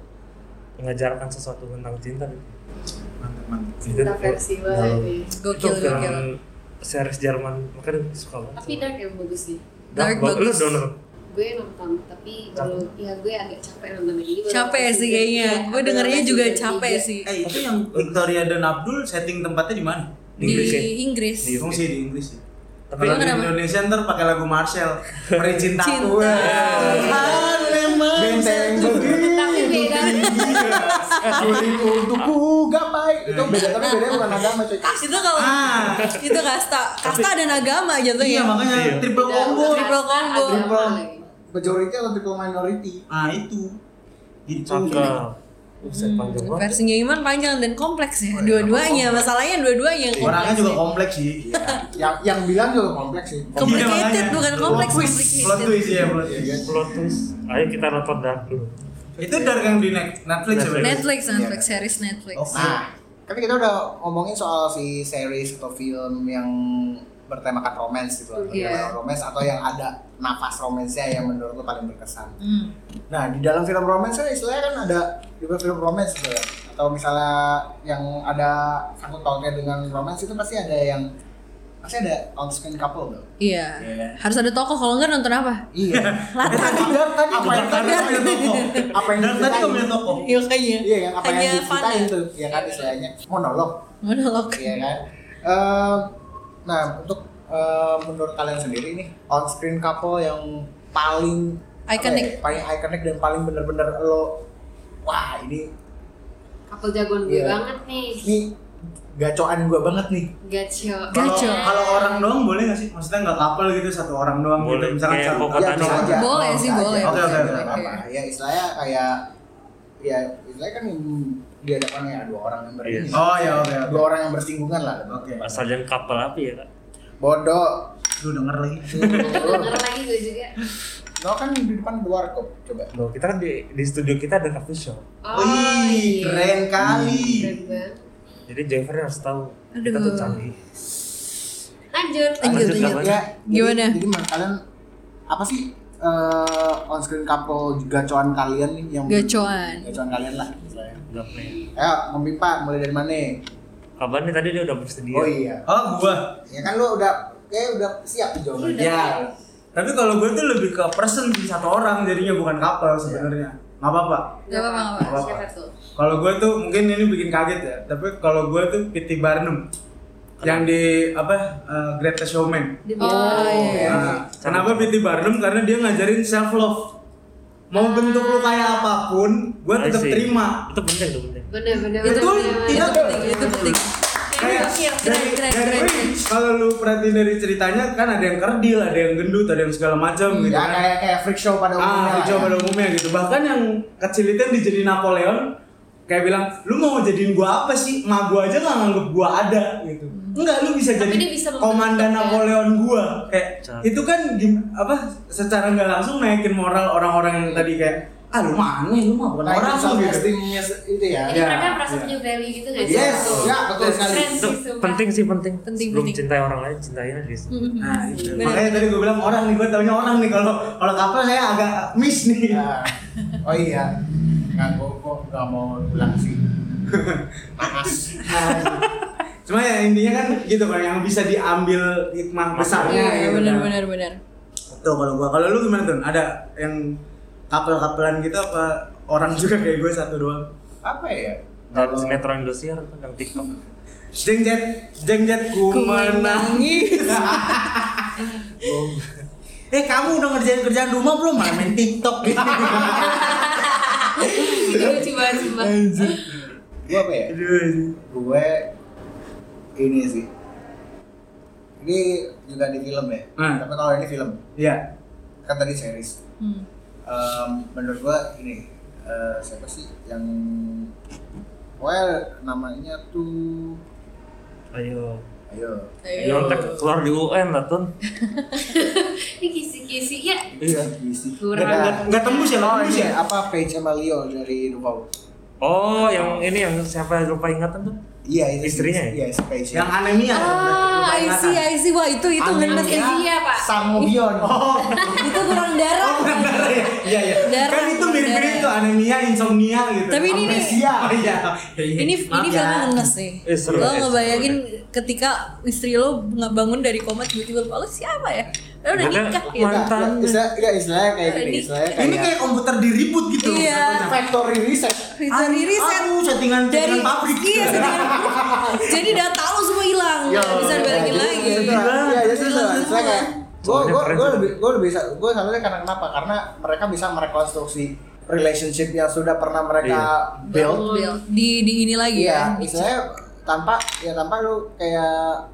S3: mengajarkan sesuatu tentang cinta gitu Itu-
S2: Cinta
S3: Nah.
S2: versi banget nih.
S3: itu
S4: Gokil
S3: film
S4: gokil.
S3: series Jerman makanya suka banget
S2: Tapi dark yang bagus sih.
S4: Dark
S3: Dark, lu
S4: bagus.
S3: donor
S2: Gue nonton tapi baru ya gue agak capek nonton ini. Baru
S4: Capek
S2: nonton
S4: sih
S2: season
S4: kayaknya.
S2: tiga.
S4: Gue
S2: Baru
S4: dengernya
S2: nonton
S4: juga
S2: season
S4: capek
S2: tiga.
S4: sih.
S6: Eh itu yang Victoria dan Abdul setting tempatnya di mana?
S4: Di
S3: Inggris ya?
S4: Inggris.
S3: Di
S6: Fungsi di Inggris sih.
S3: Tapi
S6: Kalau di
S4: kenapa?
S6: Indonesia ntar pakai lagu Marcel, Eh. Peri Cintaku.
S4: Cinta.
S1: Benteng berdiri
S2: Tapi Iya, beda.
S1: Suling untukku gapai
S3: Iya.
S1: Itu beda tapi bedanya bukan agama cuy
S4: Itu kalau
S6: Ah.
S4: itu kasta, kasta dan agama
S6: Iya
S4: jatuhnya.
S6: makanya
S3: Iya.
S6: triple combo.
S4: Triple combo.
S2: Agama
S1: Triple
S2: lagi.
S1: Majority atau triple minority
S6: Ah itu. Gitu.
S3: Cakep. Buset, panjang banget.
S4: Versinya Iman panjang dan kompleks ya. Dua-duanya masalahnya dua-duanya yang
S6: Orangnya
S4: kompleks.
S6: juga kompleks sih.
S1: Yang, Ya, yang bilang juga kompleks sih
S4: Iya. Complicated
S6: Iya, makanya.
S4: bukan kompleks,
S6: Plot twist. Plot
S4: complicated.
S6: twist ya, plot twist.
S3: Plot twist. Ayo kita nonton Dark dulu.
S6: Itu dark yang di net- Netflix ya. berarti?
S4: Netflix, Netflix series Netflix.
S6: Oke.
S1: Nah, tapi kita udah ngomongin soal si series atau film yang bertemakan romance gitu atau
S2: Iya.
S1: yang romance atau yang ada nafas romansnya yang menurut lo paling berkesan.
S4: Hmm.
S1: Nah, di dalam film romance kan istilahnya kan ada juga film romance gitu ya. Atau misalnya yang ada sangkut pautnya dengan romance itu pasti ada yang pasti ada on screen couple dong.
S4: Iya.
S6: Iya.
S4: Harus ada tokoh kalau enggak nonton apa?
S1: Iya. tadi dan tadi apa yang
S6: Tadi
S1: tadi
S6: kamu punya toko.
S1: apa yang
S6: Dark tadi kamu punya
S1: diceritain?
S6: toko.
S4: Iya kayaknya.
S1: Iya, yang apa
S4: Hanya
S1: yang diceritain
S4: fana.
S1: tuh, ya kan istilahnya monolog.
S4: Monolog.
S1: Iya kan. Ehm, nah untuk ehm, menurut kalian sendiri nih on screen couple yang paling apa
S4: Iconic.
S1: ya, paling iconic dan paling bener-bener lo wah ini
S2: Couple jagoan gue
S1: Iya.
S2: banget nih.
S1: ini gacoan gue banget nih
S2: Gacho.
S4: Gacho.
S6: Kalau- Kalau orang doang boleh nggak sih? Maksudnya nggak couple gitu satu orang doang
S3: Boleh.
S6: gitu misalkan
S3: Kayak
S6: satu.
S3: Kok
S1: ya,
S3: tadi?
S1: bisa aja.
S4: Boleh
S1: Bisa
S4: sih,
S1: aja.
S4: boleh.
S1: Oke, oke,
S6: Oke,
S1: oke.
S6: oke,
S1: apa-apa. Ya istilahnya kayak ya istilahnya kan di hadapannya ada dua orang yang berini.
S6: Oh ya oke
S1: Dua
S6: oke.
S1: orang yang bersinggungan lah.
S6: Oke.
S3: Asal jangan kapal api ya kak.
S1: Bodoh.
S6: Lu denger lagi.
S2: Denger lagi gue juga.
S1: Lo kan di depan luar kok. Coba.
S3: Loh, kita kan di, di studio kita ada coffee shop.
S2: Oh,
S1: Wih,
S2: iya.
S1: keren kali.
S2: Keren banget.
S3: Jadi Jennifer harus tahu kita
S4: Aduh.
S3: tuh canggih.
S2: Lanjut.
S4: Lanjut,
S3: Lanjut,
S4: lanjut.
S3: Kak.
S1: Ya,
S4: Gimana?
S1: Jadi, jadi menurut kalian apa sih eh, on screen couple gacoan kalian nih yang
S4: Gacoan.
S1: gacoan kalian lah istilahnya.
S3: Enggak pernah. ya.
S1: Ayo, ngomipah mulai dari mana?
S6: Iya.
S3: Kabarnya tadi dia udah bersedia.
S1: Oh iya.
S6: Oh gua.
S1: Ya kan lo udah kayak udah siap jawabannya.
S6: Ya. Tapi kalau gue tuh lebih ke person sih, satu orang jadinya bukan couple sebenarnya. Nggak apa-apa.
S4: Gak apa-apa, gak apa-apa.
S2: Siapa tuh?
S6: Kalau gue tuh mungkin ini bikin kaget ya. Tapi kalau gue tuh P.T. Barnum yang di apa uh, Greatest Showman.
S2: Dia
S4: Oh,
S2: bilang,
S4: iya.
S6: Nah, kenapa P.T. Barnum? Karena dia ngajarin self love. Mau bentuk lu kayak apapun, gue
S3: I
S6: tetap
S3: see.
S6: terima.
S3: Itu penting, itu penting.
S2: Bener, bener,
S6: Itu
S2: bener.
S6: tidak-
S4: Itu penting, itu penting. Iya,
S6: Kayak dari,
S4: keren,
S6: dari-
S4: keren, keren.
S6: kalau lu perhatiin dari ceritanya kan ada yang kerdil, ada yang gendut, ada yang segala macam
S4: Iya,
S6: gitu
S1: Ya
S6: kan.
S1: kayak kayak freak show pada umumnya.
S6: ah,
S1: lah
S6: hijau
S1: ya.
S6: pada umumnya gitu. Bahkan yang kecil itu yang dijadiin Napoleon kayak bilang, "Lu mau jadiin gua apa sih? Ma gua aja nggak nganggep gua ada." gitu. Enggak, lu bisa
S2: Tapi
S6: jadi
S2: dia bisa membentuk,
S6: komandan
S2: ya.
S6: Napoleon gua. Kayak
S3: Cakep.
S6: itu kan gim- apa secara nggak langsung naikin moral orang-orang yang tadi kayak, "Ah, lu mah aneh, lu mah bukan
S1: Nah,
S6: orang
S1: itu
S6: lu." gitu.
S1: self-esteemnya se- itu ya.
S2: Jadi
S6: Ya,
S2: mereka merasa
S6: ya.
S2: punya
S4: Iya,
S2: value gitu gak sih?
S1: Yes, ya betul sekali.
S2: Keren
S3: Itu
S2: sih, sumpah.
S3: penting sih penting.
S4: Penting,
S3: Sebelum
S4: penting.
S3: cintai orang lain, cintai diri sendiri.
S4: Mm-mm.
S6: Nah, itu.
S4: Bener.
S6: Makanya tadi gue bilang orang nih, gue taunya orang nih kalau kalau kapal saya agak miss nih.
S1: Ya. Oh iya. Nggak kok kok nggak mau pulang sih. Panas.
S6: Cuma ya intinya kan gitu kan yang bisa diambil hikmah besarnya
S4: Iya,
S6: gitu
S4: benar,
S6: kan.
S4: benar, benar.
S6: Tuh kalau gua, kalau lu gimana tuh? Ada yang kapel-kapelan gitu apa orang juga kayak gue satu doang?
S1: Apa ya?
S3: Dari sinetron Indosiar, tentang TikTok.
S6: Jengjet, jengjet ku
S4: Ku
S6: menangis. eh kamu udah ngerjain kerjaan rumah belum? Malah main TikTok gitu.
S2: Itu
S4: Iya,
S2: lucu banget, sumpah.
S1: Gue apa ya? Gue ini sih. Ini juga di film ya.
S6: Hmm.
S1: Tapi kalau ini film
S6: Iya.
S1: kan tadi series.
S4: Hmm.
S1: Em, menurut gue ini eh, siapa sih yang well namanya tuh
S3: Ayo.
S1: ayo
S4: Iya,
S3: Nyontek keluar di UN lah Tun.
S2: Ini kisi-kisi ya.
S3: Iya.
S1: Bisi.
S2: Kurang.
S1: Beda.
S6: Nggak tembus ya, nggak
S1: Oh
S6: tembus
S1: ini
S6: ya.
S1: apa Paige sama Leo dari Dubau?
S3: Oh, yang ini yang siapa lupa ingatan tuh?
S1: Iya itu
S3: Istrinya ya?
S1: Iya si Paige.
S6: Yang anemia.
S4: Ah, I see, I see. Wah, itu itu
S6: Amin.
S4: ngenes sih.
S1: Iya,
S2: Amnesia, Pak.
S1: Sangobion.
S6: Oh,
S4: Itu kurang darah.
S6: oh benar benar ya. Iya iya.
S4: Darah,
S6: Kan itu mirip-mirip tuh anemia, insomnia gitu.
S4: Tapi ini nih,
S1: Amnesia.
S6: Oh iya.
S4: ini ini
S6: ya.
S4: filmnya ngenes sih.
S3: Eh, seru,
S4: lo
S3: eh, seru,
S4: ngebayangin ketika istri lo nggak bangun dari koma tiba-tiba lo siapa ya? Lo udah
S3: Bener,
S4: nikah gitu.
S3: mantap.
S1: Mantan. Istilah, enggak istilahnya kayak gini.
S4: Ini-
S1: Istilahnya kayak.
S6: Ini kayak komputer diribut gitu.
S4: Iya.
S6: satunya.
S1: factory research.
S4: Dari riset
S6: Aduh, settingan
S4: Ah, dari
S6: dari pabrik. gitu.
S4: Iya, settingan- jadi data lo semua hilang, nggak bisa dibalikin
S1: jadi-
S4: lagi.
S1: jadi- Iya, jadi itu istilahnya kayak. Gue
S3: Soalnya
S1: gue
S3: keren
S1: gue
S3: juga.
S1: lebih gue lebih bisa gue sampai karena kenapa? Karena mereka bisa merekonstruksi relationship yang sudah pernah mereka
S3: Iya.
S1: build.
S4: Build. Di di ini lagi
S1: Iya,
S4: ya.
S1: istilahnya tanpa ya tanpa lu kayak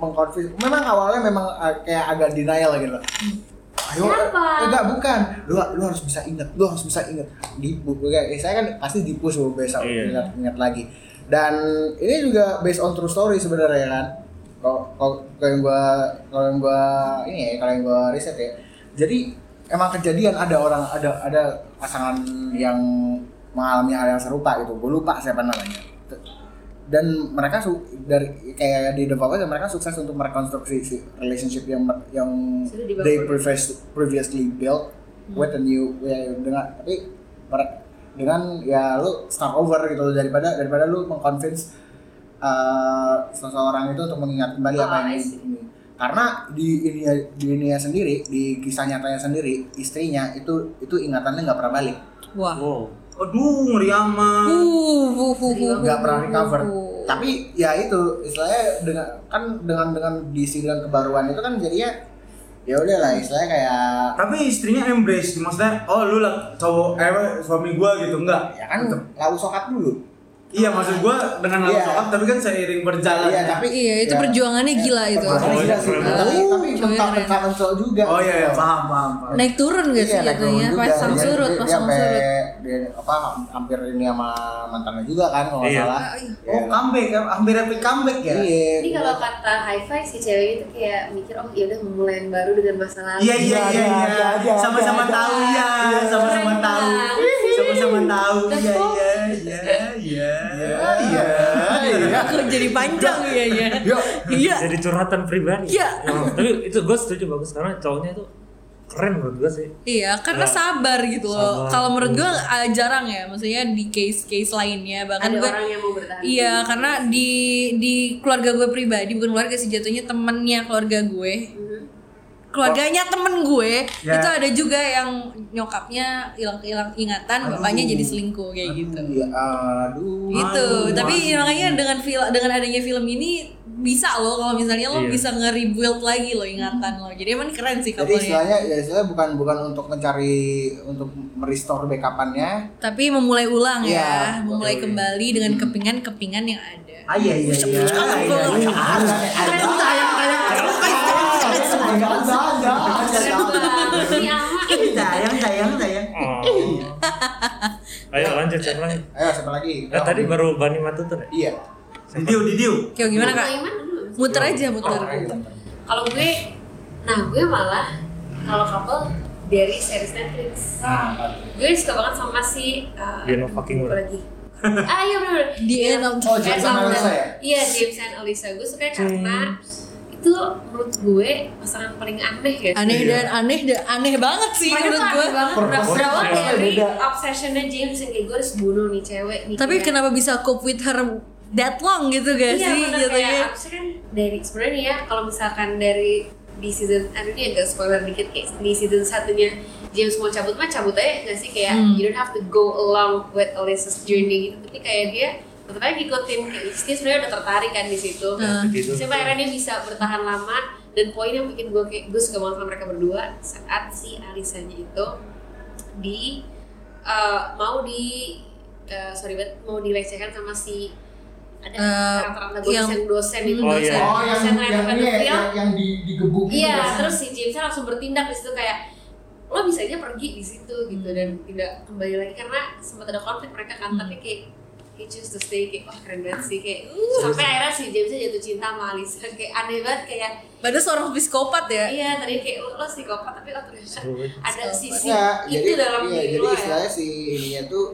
S1: mengkonfis. Memang awalnya memang uh, kayak agak denial gitu. Ayo,
S2: Kenapa?
S1: eh, enggak bukan. Lu lu harus bisa ingat, lu harus bisa ingat. Di buku kayak saya kan pasti dipus lu besok
S3: Iya.
S1: ingat ingat lagi. Dan ini juga based on true story sebenarnya kan. Kalau kalau kalau yang gua kalau yang gua ini ya, kalau yang gua riset ya. Jadi emang kejadian ada orang ada ada pasangan yang mengalami hal yang serupa gitu. Gue lupa siapa namanya dan mereka su- dari kayak di The Voice mereka sukses untuk merekonstruksi si- relationship yang mer- yang
S2: Sudah dibangun. Hmm.
S1: they previous- previously built with a new ya, dengan tapi mere- dengan ya lu start over gitu loh daripada daripada lu mengconvince uh, seseorang itu untuk mengingat kembali apa
S2: Ah,
S1: yang
S2: I see.
S1: ini karena di ini di ininya sendiri di kisah nyatanya sendiri istrinya itu itu ingatannya nggak pernah balik
S4: Wah.
S3: Wow.
S6: Aduh, ngeri amat.
S4: Uh, wuh, wuh, wuh,
S1: nggak
S4: wuh,
S1: pernah
S2: Oh.
S4: wuh,
S1: recover.
S4: wuh.
S1: Tapi ya itu istilahnya dengan kan dengan dengan diisi dengan kebaruan itu kan jadinya ya udah lah istilahnya kayak
S6: Tapi istrinya embrace, maksudnya, oh lu lah cowok, eh suami gua gitu, enggak.
S1: ya kan lau sokat kan dulu.
S5: Iya maksud gue dengan lagu
S1: Iya.
S5: soal tapi kan seiring berjalan.
S1: Iya, tapi
S4: Iya, itu perjuangannya gila itu.
S1: Perjuangannya
S3: Oh,
S1: gila
S3: iya,
S1: sih.
S3: keren.
S1: Tapi tapi
S4: Oh,
S1: tentang soal juga. gitu.
S5: Oh iya, iya.
S6: paham paham paham
S4: Naik turun gak sih
S1: Iya, naik turun
S4: jatuhnya?
S1: juga.
S4: Pasang
S1: Dia-
S4: surut,
S1: dia- dia
S4: pasang
S1: sampai-
S4: surut.
S1: Dia apa hampir ini sama mantannya juga kan kalau nggak
S3: Iya.
S1: salah. kan?
S6: oh comeback ya hampir hampir comeback ya
S1: Iya.
S2: Jadi kalau kata high five si cewek itu kayak mikir oh ya udah memulai yang baru dengan masa lalu.
S6: Iya iya iya
S1: Iya,
S6: iya.
S1: iya, iya,
S6: Sama-sama
S1: iya,
S6: tahu ya, sama-sama
S4: Iya,
S6: tahu. Sama-sama tahu. Iya iya iya iya iya.
S4: Kok jadi panjang ya ya. Iya.
S3: jadi curhatan pribadi
S4: Iya.
S3: Oh, tapi itu gue setuju bagus karena cowoknya itu keren menurut gue sih
S4: Iya, karena
S3: Nah,
S4: sabar gitu loh.
S3: sabar.
S4: Kalau menurut gua eh, jarang ya, maksudnya di case-case lainnya bahkan
S2: Ada
S4: Kan gua-
S2: orang yang mau bertahan.
S4: Iya, karena di di keluarga gue pribadi bukan keluarga sih jatuhnya temennya keluarga gue.
S2: Mm-hmm.
S4: Keluarganya temen gue
S6: Ya.
S4: itu ada juga yang nyokapnya hilang hilang ingatan, bapaknya jadi selingkuh kayak gitu.
S1: Iya, aduh.
S4: Gitu. Tapi ya, makanya dengan film dengan adanya film ini bisa loh kalau misalnya lo
S3: Iya.
S4: bisa nge-rebuild lagi lo ingatan lo. Jadi emang keren sih
S1: Jadi
S4: kapalnya.
S1: istilahnya ya istilahnya bukan bukan untuk mencari untuk merestore backupannya.
S4: Tapi memulai ulang
S1: Iya,
S4: ya, memulai kembali dengan kepingan-kepingan yang ada.
S6: Ah, iya iya iya. Iya, iya.
S4: kan
S2: Ini ama.
S6: Sayang sayang sayang.
S4: Iya.
S3: oh. ayo lanjut siapa lagi
S1: Ayo siapa lagi?
S3: Eh, tadi baru Bani Matutur ya?
S1: Iya.
S6: Didiu didiu.
S4: Kayak gimana
S2: Kalau
S4: kak?
S2: Iman dulu.
S4: Muter aja, muter.
S2: Kalau gue, nah gue malah kalau couple dari series Netflix. Gue suka banget sama si uh,
S3: Dia no fucking
S2: apa lagi. ah iya benar.
S4: The end of-
S1: Oh, James and Alyssa ya?
S2: Iya James and Alyssa. Gue suka karena itu menurut gue pasangan paling aneh ya.
S4: aneh
S1: Iya.
S4: dan aneh dan aneh banget sih
S2: Mereka
S4: menurut
S2: tuh aneh
S4: gue
S2: banget. Nah, Berasal
S3: Purpose-nya
S2: dari
S1: beda.
S2: obsessionnya James yang kayak gue harus bunuh nih cewek. Nih
S4: tapi
S2: cewek.
S4: kenapa bisa cope with her that long gitu gak
S2: Iya
S4: sih
S2: benar kayak
S4: jatuhnya
S2: abis kan dari sebenarnya nih ya kalau misalkan dari di season aduh ini agak spoiler dikit kayak di season satunya James mau cabut mah cabut aja nggak sih kayak
S4: Hmm.
S2: you don't have to go along with Alyssa's journey gitu tapi kayak dia tetap aja ngikutin kayak dia sebenarnya udah tertarik kan di situ
S4: Nah,
S3: Gitu.
S2: Sampai akhirnya dia bisa bertahan lama dan poin yang bikin gue kayak gue suka banget sama mereka berdua saat si Alisanya itu di eh, mau di eh, sorry banget mau dilecehkan sama si ada
S4: Eh,
S2: karakter antagonis yang,
S4: yang-
S2: dosen itu
S3: Oh, iya.
S1: Oh, yang
S2: dosen
S1: yang ini ya,
S2: pedofil.
S1: yang, yang di digebuk gitu
S2: Iya,
S1: kan?
S2: terus si James langsung bertindak di situ kayak lo bisa aja pergi di situ gitu
S4: Hmm.
S2: dan tidak kembali lagi karena sempat ada konflik mereka kan tapi kayak he choose to stay kayak wah keren banget sih kayak sampai akhirnya si James jatuh cinta sama Alisa kayak aneh banget kayak
S4: padahal seorang psikopat ya
S2: iya tadi kayak lo, lo psikopat tapi lo ternyata ada sisi
S1: Enggak, jadi
S2: itu dalam
S1: iya,
S2: diri
S1: jadi
S2: lo ya
S1: istilahnya si ininya tuh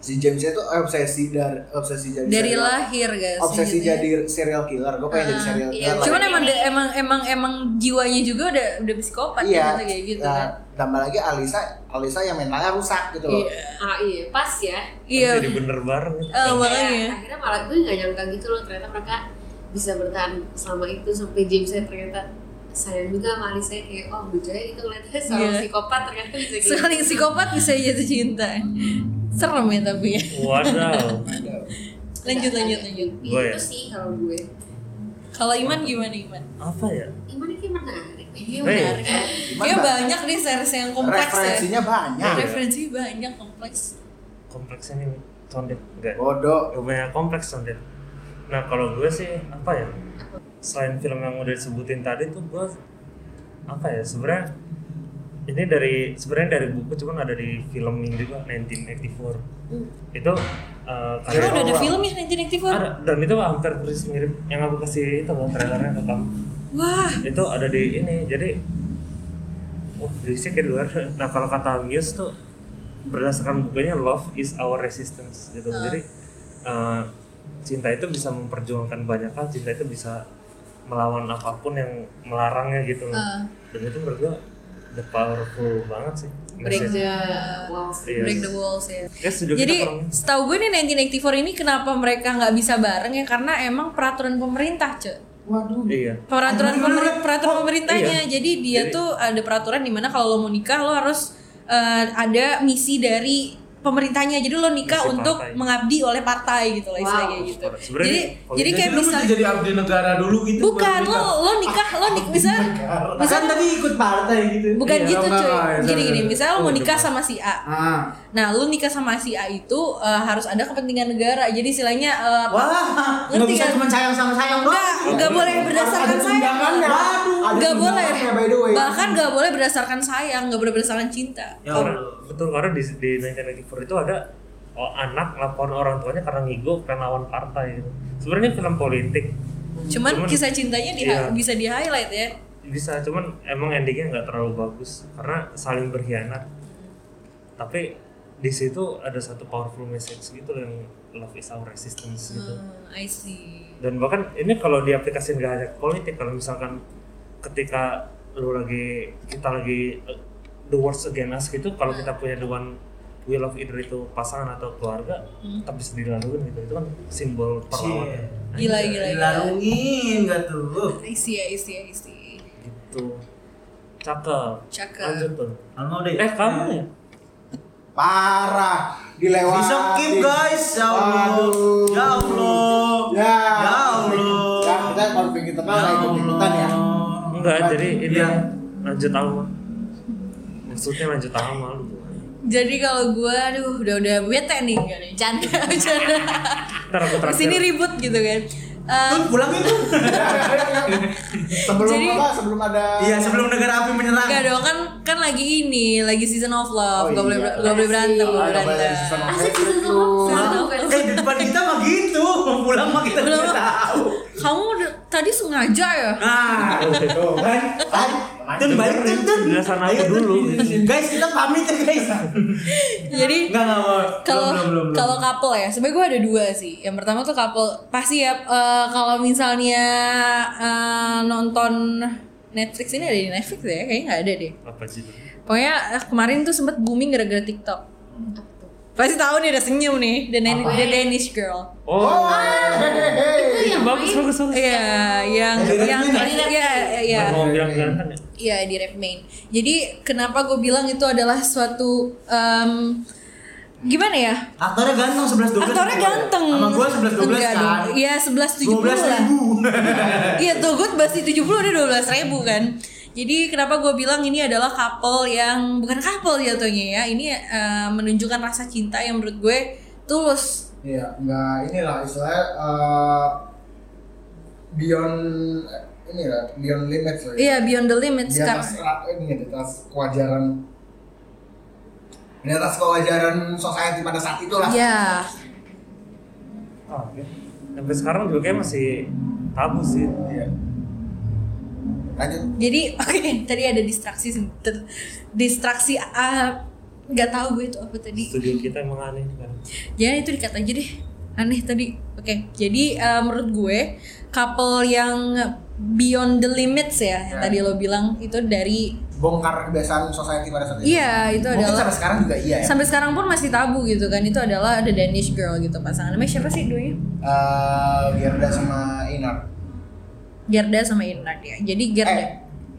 S1: si James itu obsesi dari obsesi jadi
S4: dari
S1: serial-
S4: lahir gak sih
S1: obsesi
S4: gitu ya?
S1: jadi serial killer gue pengen jadi serial
S2: iya.
S1: killer lah.
S4: cuman emang de- emang emang emang jiwanya juga udah udah psikopat
S1: iya
S4: gitu kayak gitu
S1: nah,
S4: kan
S1: tambah lagi Alisa Alisa yang mentalnya rusak gitu loh
S4: Iya.
S2: ah iya pas ya
S4: iya
S3: jadi bener bareng
S4: Eh,
S3: gitu.
S2: Kayak
S4: makanya
S2: akhirnya malah gue gak nyangka gitu loh ternyata mereka bisa bertahan selama itu sampai James ternyata sayang juga sama Alisa kayak oh bujanya gitu ngeliatnya seorang
S4: Iya.
S2: psikopat ternyata bisa gitu
S4: sekali psikopat bisa jatuh cinta serem ya tapi ya
S3: Wadaw.
S1: Iya.
S4: lanjut
S2: Nah,
S4: lanjut
S2: ada-
S4: lanjut
S2: Iya,
S3: Gue ya?
S2: itu sih kalau gue
S4: kalau Iman gimana Iman
S3: Apa ya?
S2: Iman ini kayak menarik
S4: Iya
S3: Hey.
S4: menarik ya.
S1: Iman
S4: Kayak
S1: ba-
S4: banyak nih series yang kompleks ya
S1: referensinya banyak
S4: referensi banyak kompleks
S3: Kompleksnya nih condet enggak?
S1: bodoh
S3: Lumayan kompleks condet. Nah, kalau gue sih apa ya? Selain film yang udah disebutin tadi tuh gue apa ya? Sebenarnya ini dari sebenarnya dari buku cuman ada di filming juga 1984. Itu eh,
S4: Emang
S3: karya
S4: Hmm. udah ada film ya 1984?
S3: ada dan itu hampir persis mirip yang aku kasih itu loh trailernya ke kamu.
S4: Wah,
S3: itu ada di ini jadi wah berisik ya di luar nah kalau kata Muse tuh berdasarkan bukunya love is our resistance gitu jadi eh, cinta itu bisa memperjuangkan banyak hal cinta itu bisa melawan apapun yang melarangnya gitu loh
S4: Ah.
S3: dan itu menurut gua the powerful banget sih
S2: break
S3: message.
S2: the walls
S3: Iya.
S4: Break the Walls ya.
S3: ya studio
S4: Jadi
S3: kita kurang-
S4: setahu gue nih 1984 ini kenapa mereka nggak bisa bareng ya karena emang peraturan pemerintah cuy.
S1: waduh
S3: iya
S4: Peraturan pemer-
S5: Oh,
S4: peraturan pemerintahnya.
S3: iya.
S4: Jadi dia
S3: Jadi-
S4: tuh ada peraturan dimana kalau lo mau nikah lo harus eh, ada misi dari pemerintahnya jadi lo nikah
S3: Misi
S4: untuk
S3: partai.
S4: mengabdi oleh partai gitu lah
S2: Wow.
S4: istilahnya gitu
S3: Sebenarnya
S4: jadi
S3: kalau
S4: jadi
S3: gitu
S4: kayak
S5: Jadi lu
S4: misal
S5: mesti jadi abdi negara dulu gitu
S4: bukan
S5: baru
S4: lo
S5: nikah. Oh,
S4: lo nikah lo nik bisa bisa
S6: Kan tadi ikut partai gitu.
S4: bukan
S5: Iya,
S4: gitu
S5: enggak,
S4: cuy
S5: enggak, enggak,
S4: gini gini
S5: enggak. iya,
S4: misalnya lo
S3: Oh,
S4: mau nikah
S3: enggak.
S4: sama si A
S5: Ah.
S4: nah lo nikah sama si A itu eh, harus ada kepentingan negara jadi istilahnya eh,
S6: Wah, nggak
S4: Ngerti
S6: bisa
S4: kan?
S6: cuma sayang sama sayang doang. Iya.
S4: Enggak, enggak boleh berdasarkan
S1: Ada
S4: sayang.
S1: tundangannya.
S6: Waduh.
S1: Ada
S4: Enggak boleh.
S1: tundangannya, by the way.
S4: Bahkan enggak boleh berdasarkan sayang, enggak boleh berdasarkan cinta.
S6: Ya
S3: Karena-
S6: Allah.
S3: betul karena di di 1994 itu ada oh, anak laporan orang tuanya karena ngigo karena lawan partai gitu. Sebenarnya film politik
S4: Cuman,
S3: Cuman-
S4: kisah cintanya di
S3: Iya.
S4: bisa di highlight ya.
S3: bisa cuman emang endingnya nggak terlalu bagus karena saling berkhianat. Tapi di situ ada satu powerful message gitu yang love is our resistance gitu.
S4: Hmm, I see.
S3: dan bahkan ini kalau diaplikasikan gak hanya ke politik kalau misalkan ketika lu lagi kita lagi uh, the worst against us gitu kalau kita punya the one we love either itu pasangan atau keluarga
S4: Hmm.
S3: tapi bisa dilaluin gitu itu kan simbol perlawanan
S4: Gila gila. gila.
S6: Dilarungin enggak tuh.
S4: I see, ya, I see, I see.
S3: gitu cakep
S4: Cakep.
S3: lanjut tuh
S6: Alma udah. ya?
S3: eh kamu ya
S1: Parah. Dilewati.
S6: Bisa skip guys. Ya Allah.
S1: Aduh.
S6: Ya Allah.
S1: Ya.
S6: Ya Allah.
S1: Ya, kita konflik kita
S6: Ya
S1: malah ikut-ikutan ya.
S6: Allah.
S3: enggak
S1: Lanjut.
S3: jadi ini
S6: Iya.
S3: lanjut alma maksudnya lanjut alma lu
S4: Jadi kalau gua aduh udah udah bete nih enggak nih. Canda, canda.
S3: ntar aku
S4: Di
S3: terakhir
S4: sini ribut gitu kan. Eh,
S6: Tut, pulang itu.
S1: sebelum
S4: Jadi-
S1: apa? Sebelum ada
S6: Iya, sebelum negara api menyerang.
S4: Enggak dong kan kan lagi ini lagi season of love
S1: Oh,
S4: gak boleh
S1: iya.
S4: gak boleh berantem
S1: Ah,
S4: gak boleh
S1: nggak boleh
S4: berantem
S1: season of
S2: Asik
S1: hatred
S2: season
S1: lu.
S2: of love.
S4: Season of
S6: Eh, di depan kita mah gitu. Pulang mah kita
S4: Belum.
S6: nggak tahu.
S4: kamu udah- tadi sengaja ya
S6: Nah,
S1: Tuh, kan? Kan?
S6: Tun balik Tun, Tun.
S3: Penjelasan aku
S6: Ayo, Tun.
S3: dulu.
S6: Guys, kita pamit ya guys.
S4: Iya. jadi
S6: Enggak enggak mau.
S4: kalau
S6: Belum, belum, belum.
S4: kalau couple ya sebenarnya gue ada dua sih yang pertama tuh couple pasti ya eh, kalau misalnya eh, nonton Netflix ini ada di Netflix ya kayaknya nggak ada deh
S3: apa sih
S4: pokoknya eh, kemarin tuh sempet booming gara-gara TikTok pasti tahu nih udah senyum nih the, Dan-
S2: Apa?
S4: The Danish Girl
S1: Oh,
S3: oh Iya,
S1: hehehe.
S2: Itu yang
S3: bagus
S2: main
S3: bagus
S6: Oh,
S3: bagus
S4: ah. Iya, yang
S6: Dari
S4: yang
S6: Redmayne.
S4: ya ya
S3: Mau bilang ganteng ya?
S4: Iya di rap main. Jadi kenapa gue bilang itu adalah suatu em, gimana ya?
S6: Aktornya ganteng 11 12.
S4: Aktornya ganteng.
S6: ya? Sama gua 11 12
S4: Enggak
S6: kan.
S4: dong. Iya 11 70 lah.
S6: 12.000.
S4: Iya tuh gue pasti 70 dia 12 ribu kan. Jadi kenapa gue bilang ini adalah couple yang bukan couple jatuhnya ya. Ini eh, menunjukkan rasa cinta yang menurut gue tulus
S1: Iya, nggak inilah istilahnya eh, beyond ini lah, beyond limits lah. ya.
S4: Iya beyond the limit
S1: Di atas
S4: sekarang.
S1: ra- ini di atas kewajaran di atas kewajaran society pada saat itu lah.
S4: Iya.
S3: Oh, oke. Sampai sekarang juga kayak masih tabu sih.
S1: Iya. Lanjut.
S4: Jadi oke tadi ada distraksi sen- ter- distraksi ah, nggak tahu gue itu apa tadi.
S3: Studio kita emang aneh kan.
S4: Jangan Ya, itu dikat aja deh. Aneh tadi. Oke, jadi eh, menurut gue couple yang beyond the limits ya, yang tadi lo bilang itu dari
S1: Bongkar kebiasaan society pada saat itu.
S4: iya itu
S1: Mungkin
S4: adalah
S1: sampai sekarang juga iya ya.
S4: sampai sekarang pun masih tabu gitu kan. Itu adalah The Danish Girl gitu pasangan. Namanya siapa sih duanya?
S1: Eh, Gerda sama Inar.
S4: Gerda sama Inard ya. Jadi Gerda
S1: Eh,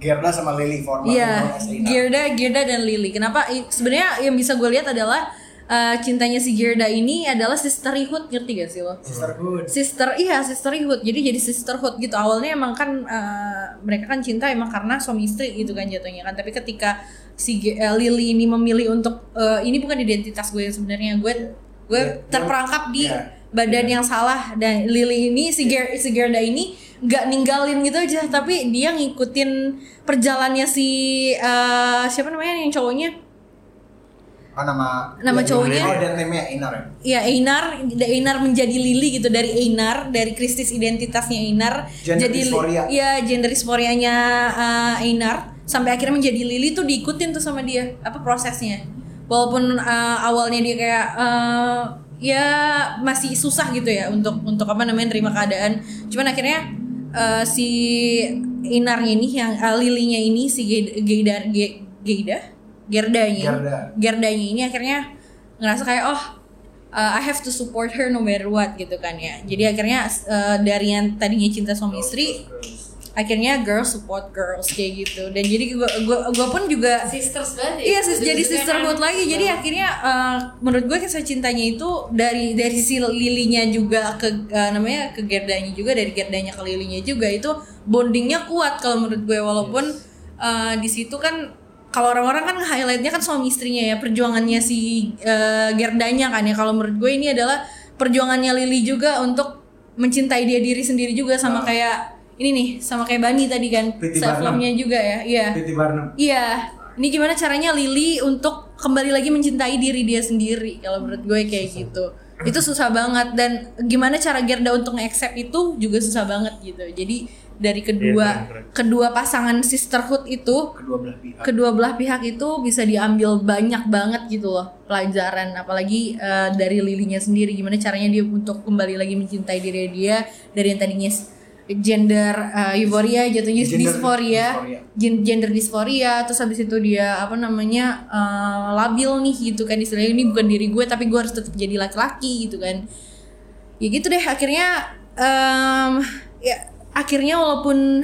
S1: Gerda sama Lily Forman.
S4: Iya,
S1: Sama Inar.
S4: Gerda, Gerda dan Lily. Kenapa? i- Sebenarnya yang bisa gue lihat adalah uh, cintanya si Gerda ini adalah sisterhood, ngerti gak sih lo?
S1: Sisterhood.
S4: Sister, iya sisterhood. Jadi jadi sisterhood gitu. Awalnya emang kan uh, mereka kan cinta emang karena suami istri gitu kan jatuhnya kan. Tapi ketika si Ge- eh, Lily ini memilih untuk uh, ini bukan identitas gue yang sebenarnya. Gue gue
S1: Iya.
S4: terperangkap di
S1: Iya.
S4: badan yang salah dan Lily ini si, Ger si Gerda ini nggak ninggalin gitu aja tapi dia ngikutin perjalannya si eh, siapa namanya yang cowoknya
S1: Apa nama?
S4: Nama
S1: Iya,
S4: cowoknya?
S1: Oh, dan namanya Inar ya.
S4: ya Einar Da- Einar menjadi Lily gitu dari Einar dari Kristis identitasnya Einar
S1: Gender
S4: jadi
S1: dysphoria.
S4: ya gender disforianya Einar sampai akhirnya menjadi Lily tuh diikutin tuh sama dia apa prosesnya walaupun eh, awalnya dia kayak eh, ya masih susah gitu ya untuk untuk apa namanya terima keadaan cuman akhirnya eh, si Einarnya ini yang eh, Lilinya ini si Geida Ge- Geida Gerdanya
S1: Gerda.
S4: Gerdanya ini akhirnya ngerasa kayak oh uh, I have to support eh, her no matter what gitu kan ya jadi akhirnya uh, dari yang tadinya cinta suami istri akhirnya girls support girls kayak gitu dan jadi gua gua, gua pun juga
S2: sisters banget
S4: Iya, sis- jadi
S2: Ujung-ujungnya
S4: sisterhood
S2: kan.
S4: lagi. Jadi akhirnya eh, menurut gue kisah cintanya itu dari dari si Lilinya juga ke eh, namanya ke Gerdanya juga dari Gerdanya ke Lilinya juga itu bondingnya kuat kalau menurut gue walaupun eh, di situ kan kalau orang-orang kan highlightnya kan suami istrinya ya perjuangannya si eh, Gerdanya kan ya kalau menurut gue ini adalah perjuangannya Lili juga untuk mencintai dia diri sendiri juga sama kayak ini nih sama kayak Bani tadi kan
S6: Pretty
S4: self
S6: Barnum.
S4: love-nya juga ya iya
S6: Titi Barnum
S4: Iya, ini gimana caranya Lili untuk kembali lagi mencintai diri dia sendiri kalau menurut gue kayak gitu. Itu susah banget dan gimana cara Gerda untuk nge-accept itu juga susah banget gitu. Jadi dari kedua
S3: Iya, keren, keren.
S4: kedua pasangan sisterhood itu
S1: kedua belah pihak
S4: kedua belah pihak itu bisa diambil banyak banget gitu loh pelajaran apalagi eh, dari lilinya sendiri gimana caranya dia untuk kembali lagi mencintai diri dia dari yang tadinya s- gender eh, euphoria jatuhnya
S1: Gender
S4: dysphoria,
S1: dysphoria.
S4: Gen- gender dysphoria terus habis itu dia apa namanya eh, labil nih gitu kan istilahnya ini bukan diri gue tapi gue harus tetap jadi laki-laki gitu kan ya gitu deh akhirnya em, ya akhirnya walaupun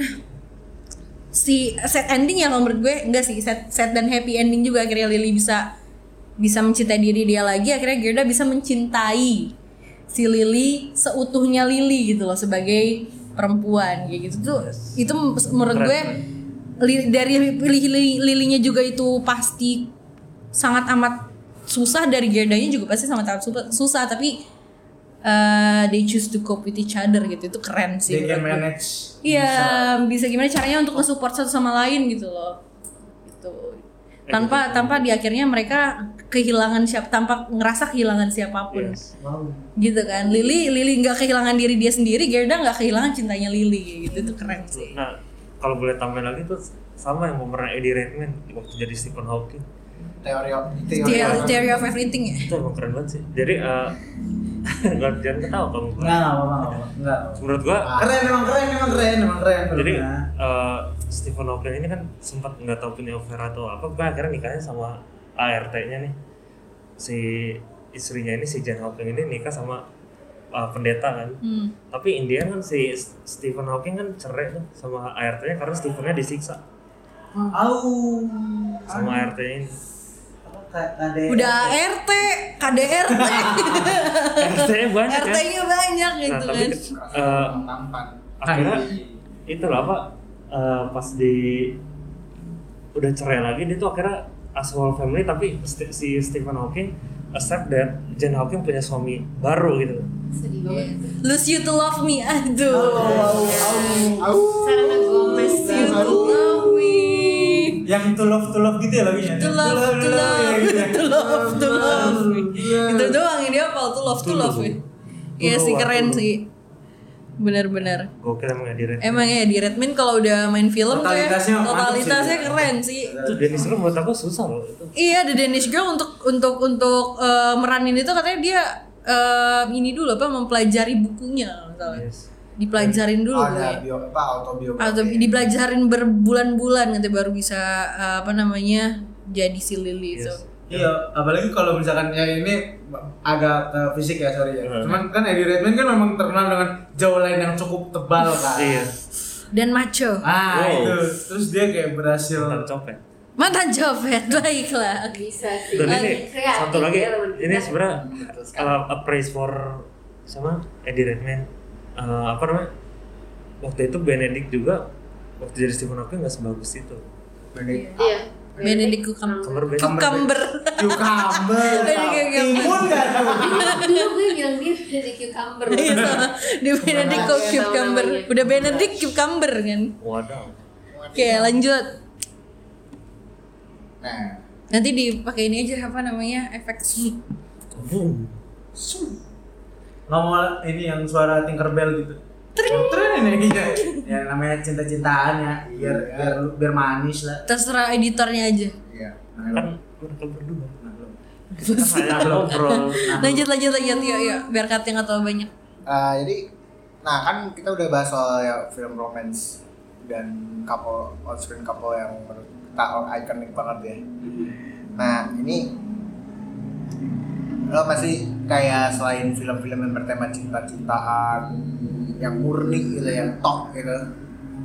S4: si sad ending ya kalau menurut gue enggak sih sad, sad dan happy ending juga akhirnya Lily bisa bisa mencintai diri dia lagi akhirnya Gerda bisa mencintai si Lily seutuhnya Lily gitu loh sebagai perempuan kayak gitu tuh itu menurut
S3: Keren,
S4: gue
S3: keren.
S4: li- dari li- li- lilinya juga itu pasti sangat amat susah dari Gerdanya juga pasti sangat amat su- susah tapi eh, they choose to cope with each other gitu itu keren sih
S6: They can
S4: menurut gue.
S6: manage
S4: Iya, bisa gimana caranya untuk nge-support satu sama lain gitu loh. Gitu.
S3: Eh,
S4: Tanpa
S3: gitu.
S4: tanpa di akhirnya mereka kehilangan siap tanpa ngerasa kehilangan siapapun.
S3: Yes.
S4: Gitu kan. Lili Lili nggak kehilangan diri dia sendiri, Gerda nggak kehilangan cintanya Lili gitu. Itu keren sih.
S3: Nah, kalau boleh tambahin lagi tuh sama yang pemeran Eddie Redmayne waktu jadi Stephen Hawking.
S1: teori
S3: Iya,
S1: teori
S4: Theory, theory of everything ya.
S3: Itu emang keren banget sih. Jadi eh nggak jangan ketawa kamu.
S6: Enggak, enggak apa-apa, enggak. apa-apa.
S3: Menurut gua
S6: Keren, emang keren, emang keren, emang keren.
S3: jadi
S6: filmnya.
S3: eh, Stephen Hawking ini kan sempat nggak tahu punya Vera atau apa, gua akhirnya nikahnya sama ART-nya nih. Si istrinya ini si Jane Hawking ini nikah sama eh, pendeta kan.
S4: Hmm.
S3: Tapi India kan si S- Stephen Hawking kan cerai tuh sama ART-nya karena Stephen-nya disiksa
S6: Au.
S3: sama
S4: Ah.
S3: ART-nya ini.
S6: Apa, kayak ada
S4: Udah ART, KDRT,
S3: ART-nya Iya, banyak kan.
S4: RT-nya banyak
S3: Nah,
S4: gitu
S3: tapi
S4: kan.
S3: ke- eh,
S1: tampan
S3: akhirnya itu lah pak eh, pas di udah cerai lagi dia tuh akhirnya as whole family tapi St- si Stephen Hawking accept that Jane Hawking punya suami baru gitu
S2: sedih banget
S4: Lose you to love me, aduh.
S2: Selena Gomez
S4: Lose you to love me.
S6: yang to love to love gitu ya lagunya.
S4: to love, to love,
S6: gitu ya?
S4: to love, to love. ya. Itu doang ini apa? To love, to love. Iya sih keren sih. Bener-bener.
S3: gokil emang Eddie Redmayne
S4: Emang ya di Redman kalau udah main film tuh ya
S6: Totalitasnya mantep sih.
S4: totalitasnya keren sih.
S3: itu Dennis Room menurut aku susah loh itu
S4: Iya, The Danish Girl untuk untuk untuk eh, meranin itu katanya dia eh, ini dulu apa mempelajari bukunya kalau nggak salah.
S3: Yes.
S4: Dipelajarin dulu ya.
S1: ada
S4: bukunya.
S1: bio apa autobiografi
S4: atau dipelajarin berbulan-bulan nanti baru bisa eh, apa namanya jadi si Lily itu.
S3: Yes.
S6: Iya, apalagi kalau misalkan ya ini agak ke fisik ya sorry ya.
S3: Hmm.
S6: Cuman kan Eddie Redmayne kan memang terkenal dengan jauh lain yang cukup tebal kan.
S3: iya
S4: Dan macho.
S6: Ah
S3: Wow.
S6: itu, terus dia kayak berhasil.
S3: tentang copet
S4: mantan Jovet baiklah oke
S2: bisa sih
S3: dan ini
S2: Kreatif
S3: satu lagi
S2: ya, teman
S3: ini
S2: kita.
S3: sebenarnya uh, a praise for sama Eddie Redmayne Uh, apa namanya waktu itu Benedict juga waktu jadi Stephen Hawking nggak sebagus itu
S2: iya
S4: Benedict Cucumber
S3: Cumberbatch
S4: Cucumber Iya, gitu.
S6: Cucumber,
S4: Benedict Cucumber
S6: timun gak tuh?
S2: dulu gue bilang dia Benedict Cucumber
S4: Iya sama Di Benedict
S2: Cucumber.
S4: Cucumber
S2: Tahu namanya.
S4: Udah Benedict Cucumber kan
S3: waduh
S4: Oke lanjut
S1: nah
S4: Nanti dipakai ini aja apa namanya efek sneak
S3: Boom.
S6: Ngomong ini yang suara Tinkerbell gitu. Tring.
S5: Oh,
S6: Tring ini kayak ya namanya cinta-cintaan ya. Biar biar biar manis lah.
S4: Terserah editornya aja
S1: iya
S3: kan mereka berdua
S6: Nah, belum.
S3: kita hanya ngobrol
S1: Nah.
S4: Lanjut lanjut lanjut yuk yuk Biar Katya nggak tahu banyak
S1: Ah, jadi nah kan kita udah bahas soal ya, film romance dan couple on screen couple yang menurut kita ikonik banget ya nah ini lo masih kayak selain film-film yang bertema cinta-cintaan yang murni gitu yang top gitu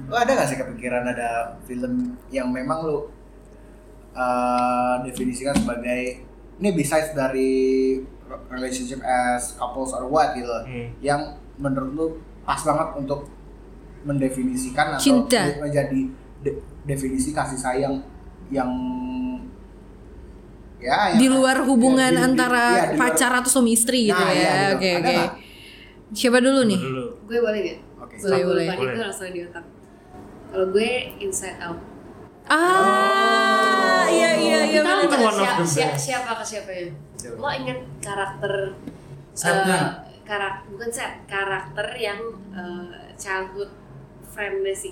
S1: Lo ada gak sih kepikiran ada film yang memang lo uh, definisikan sebagai ini besides dari relationship as couples or what gitu
S3: Hmm.
S1: yang menurut lo pas banget untuk mendefinisikan atau
S4: Cinta.
S1: de- menjadi de- definisi kasih sayang yang ya yang-
S4: di luar hubungan
S1: ya, di- di-
S4: antara
S1: ya, di luar-
S4: pacar atau suami istri gitu
S1: Nah,
S4: ya.
S1: iya, gitu.
S4: Oke,
S1: Ada
S4: oke.
S1: nggak?
S4: Siapa dulu nih?
S3: dulu
S2: Gue boleh gak?
S1: Oke.
S4: Boleh,
S2: Satu
S4: boleh.
S2: lupa nih, gue langsung di otak. Kalau gue inside out.
S1: Oh.
S4: Ah, iya iya iya.
S2: Kita
S4: bener.
S3: itu one of
S2: siapa,
S3: the
S2: siapa,
S3: best.
S2: siapa ke siapa ya? Lo inget karakter
S5: Setnya.
S2: karakter bukan set karakter yang eh, childhood friendnya si eh,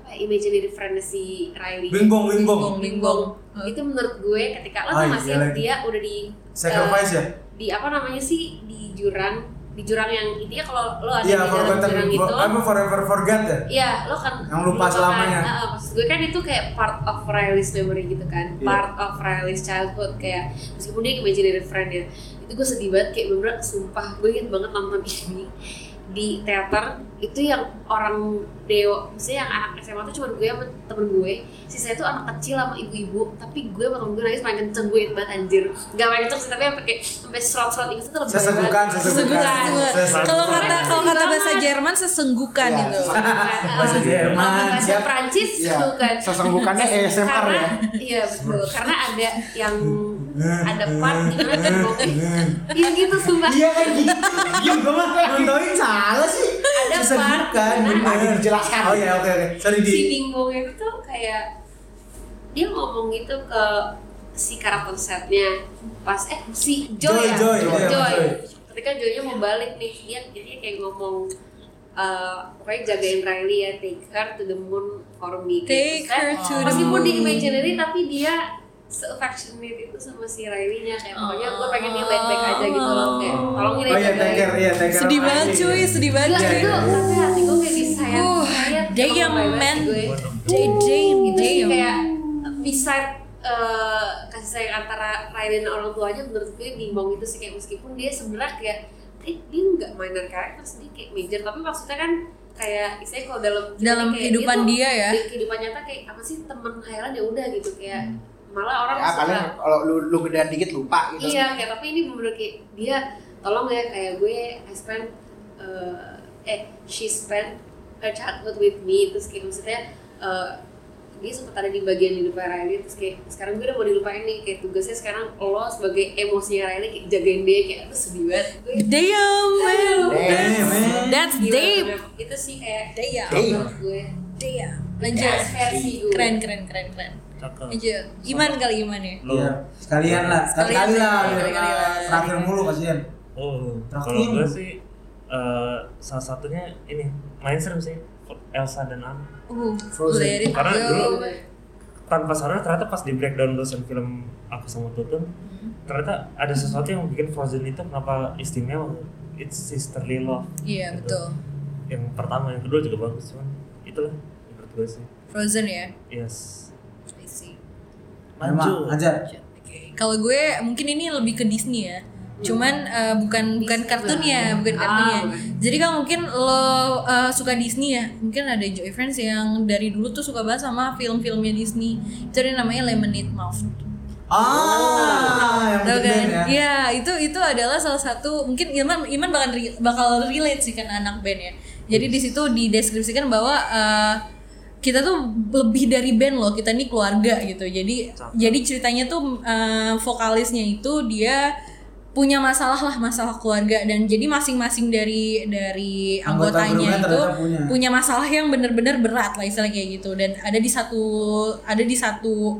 S2: apa imaginary friendnya si Riley
S5: Bingbong, bingbong.
S4: Bingbong. Heeh.
S2: itu menurut gue ketika lo
S5: Ah,
S2: tau
S5: iya
S2: masih
S5: lagi.
S2: dia udah di eh,
S5: Sacrifice ya?
S2: di apa namanya sih di jurang di jurang yang intinya kalau lo
S5: Iya,
S2: ada di dalam
S5: forgotten,
S2: jurang
S5: for,
S6: Ah,
S2: itu
S5: apa forever forget ya?
S2: Iya, lo kan
S5: Yang lupa
S2: kan,
S5: selamanya.
S2: ah, maksud gue kan itu kayak part of Riley's memory gitu kan,
S5: Iya.
S2: part of Riley's childhood kayak meskipun dia imaginary friend ya, itu gue sedih banget kayak bener sumpah gue inget banget nonton ini di teater itu yang orang dewa maksudnya yang anak SMA tuh cuma gue sama temen gue sisanya tuh anak kecil sama ibu-ibu tapi gue sama temen gue nangis main kenceng gue inget banget anjir gak main kenceng sih tapi yang pakai sampai serot-serot inget tuh lebih
S5: Sesenggukan, sesenggukan.
S2: Sesenggukan.
S5: Sesenggukan.
S4: Kalau kata kalau kata bahasa
S2: Sesenggukan.
S4: Jerman sesenggukan
S1: Iya,
S4: gitu.
S5: Bahasa Jerman,
S2: bahasa
S5: siap.
S2: Prancis
S1: Iya.
S2: tuh kan
S1: Sesenggukannya ASMR
S2: karena,
S1: ya.
S2: iya betul karena ada yang Iya. ada part di mana kan bokeh iya gitu sumpah
S5: Eh, Iya kan gitu. Iya gua mah nontonin salah sih.
S2: Ada
S5: Sesenggukan,
S2: part,
S5: bener.
S1: bener. Dijelaskan.
S5: Oh iya, oke oke. Sorry di.
S2: si bingung itu tuh kayak dia ngomong gitu ke si karakter setnya pas eh si Joy
S5: Joy,
S2: ya
S5: Joy,
S2: Joy,
S5: iya, Joy.
S2: ketika Joynya mau balik nih dia dia kayak ngomong eh, pokoknya jagain Riley ya take her to the moon for me gitu.
S4: Take
S2: Terus
S4: her to the
S2: meskipun di
S4: moon.
S2: imaginary tapi dia se-affectionate itu sama si Riley-nya kayak pokoknya gue pengen dia
S4: Oh.
S2: baik-baik aja gitu loh kayak
S5: Oh
S2: tolongin
S5: iya,
S2: aja,
S5: take care,
S2: Riley.
S5: iya, take care.
S4: Sedih banget cuy, sedih banget.
S5: Iya,
S2: Gila,
S4: cuy.
S2: itu
S5: iya.
S2: sampai hati gue kayak disayang
S4: Uh,
S2: sayang
S4: damn,
S2: sama gue,
S4: man. Damn, damn,
S2: gue. ya. itu sih
S4: damn.
S2: kayak bisa kasih sayang antara Riley dan orang tuanya menurut gue bimbang itu sih kayak meskipun dia sebenarnya kayak eh, dia nggak minor karakter dia kayak major tapi maksudnya kan kayak istilahnya kalau dalam
S4: Dalam
S2: kayak gitu.
S4: kehidupan
S2: tuh
S4: dia ya.
S2: di kehidupan nyata kayak apa sih temen Highland ya udah gitu kayak
S4: Hmm.
S2: malah orang
S1: Ya,
S2: suka-
S1: paling kalau lu, lu gedean dikit lupa gitu.
S2: Iya, kayak tapi ini bener kayak dia tolong ya kayak gue I spend uh, eh she spent her childhood with me terus kayak maksudnya uh, dia sempat ada di bagian hidup Riley terus kayak sekarang gue udah mau dilupain nih kayak tugasnya sekarang lo sebagai emosinya Riley kayak jagain dia kayak itu sedih banget gue
S4: Damn, man.
S5: Eh, men.
S4: That's
S2: gila,
S4: deep.
S2: bener. itu sih kayak
S4: Damn.
S2: menurut gue
S4: Damn.
S2: kayak
S4: Lanjut.
S2: versi gue
S4: Keren, keren, keren, keren.
S3: cakep
S4: Aja. Iman kali iman ya.
S3: lo
S5: Iya, sekalian lah, sekali-kali
S4: Sekalian,
S5: lah, biar
S4: sekali-kali
S5: nggak
S4: lah.
S5: terakhir mulu kasihan.
S3: oh
S5: Terakhir.
S3: kalau gue sih eh, salah satunya ini main serem sih Elsa dan Anna
S4: Uh,
S1: Frozen.
S4: let it
S3: Karena
S4: go.
S3: dulu- tanpa sadar ternyata pas di breakdown dosen film aku sama Tutun
S4: Hmm.
S3: ternyata ada sesuatu yang bikin Frozen itu kenapa istimewa it's sisterly love
S4: Iya,
S3: Gitu.
S4: betul.
S3: yang pertama yang kedua juga bagus cuman itulah menurut gue sih
S4: Frozen ya.
S3: yes
S4: I see.
S5: Maju.
S3: maju
S5: Ajar.
S4: Oke. Kalau gue mungkin ini lebih ke Disney ya. Cuman eh, bukan bukan kartunnya, bukan kartunnya.
S2: Ah, bukan.
S4: Jadi kan mungkin lo eh, suka Disney ya. Mungkin ada Joy Friends yang dari dulu tuh suka banget sama film-filmnya Disney. Itu ada yang namanya Lemonade Mouth.
S5: Ah, yang
S4: Tahu
S5: gede
S4: kan?
S5: ya.
S4: Iya, itu itu adalah salah satu mungkin Iman Iman bakal re- bakal relate sih kan anak band ya. Jadi di situ dideskripsikan bahwa eh, kita tuh lebih dari band loh, kita ini keluarga gitu. Jadi jadi ceritanya tuh eh, vokalisnya itu dia punya masalah lah masalah keluarga dan jadi masing-masing dari dari
S5: Anggota
S4: Iya, anggotanya
S5: grupnya
S4: itu
S5: ternyata punya.
S4: punya masalah yang bener-bener berat lah istilahnya kayak gitu dan ada di satu ada di satu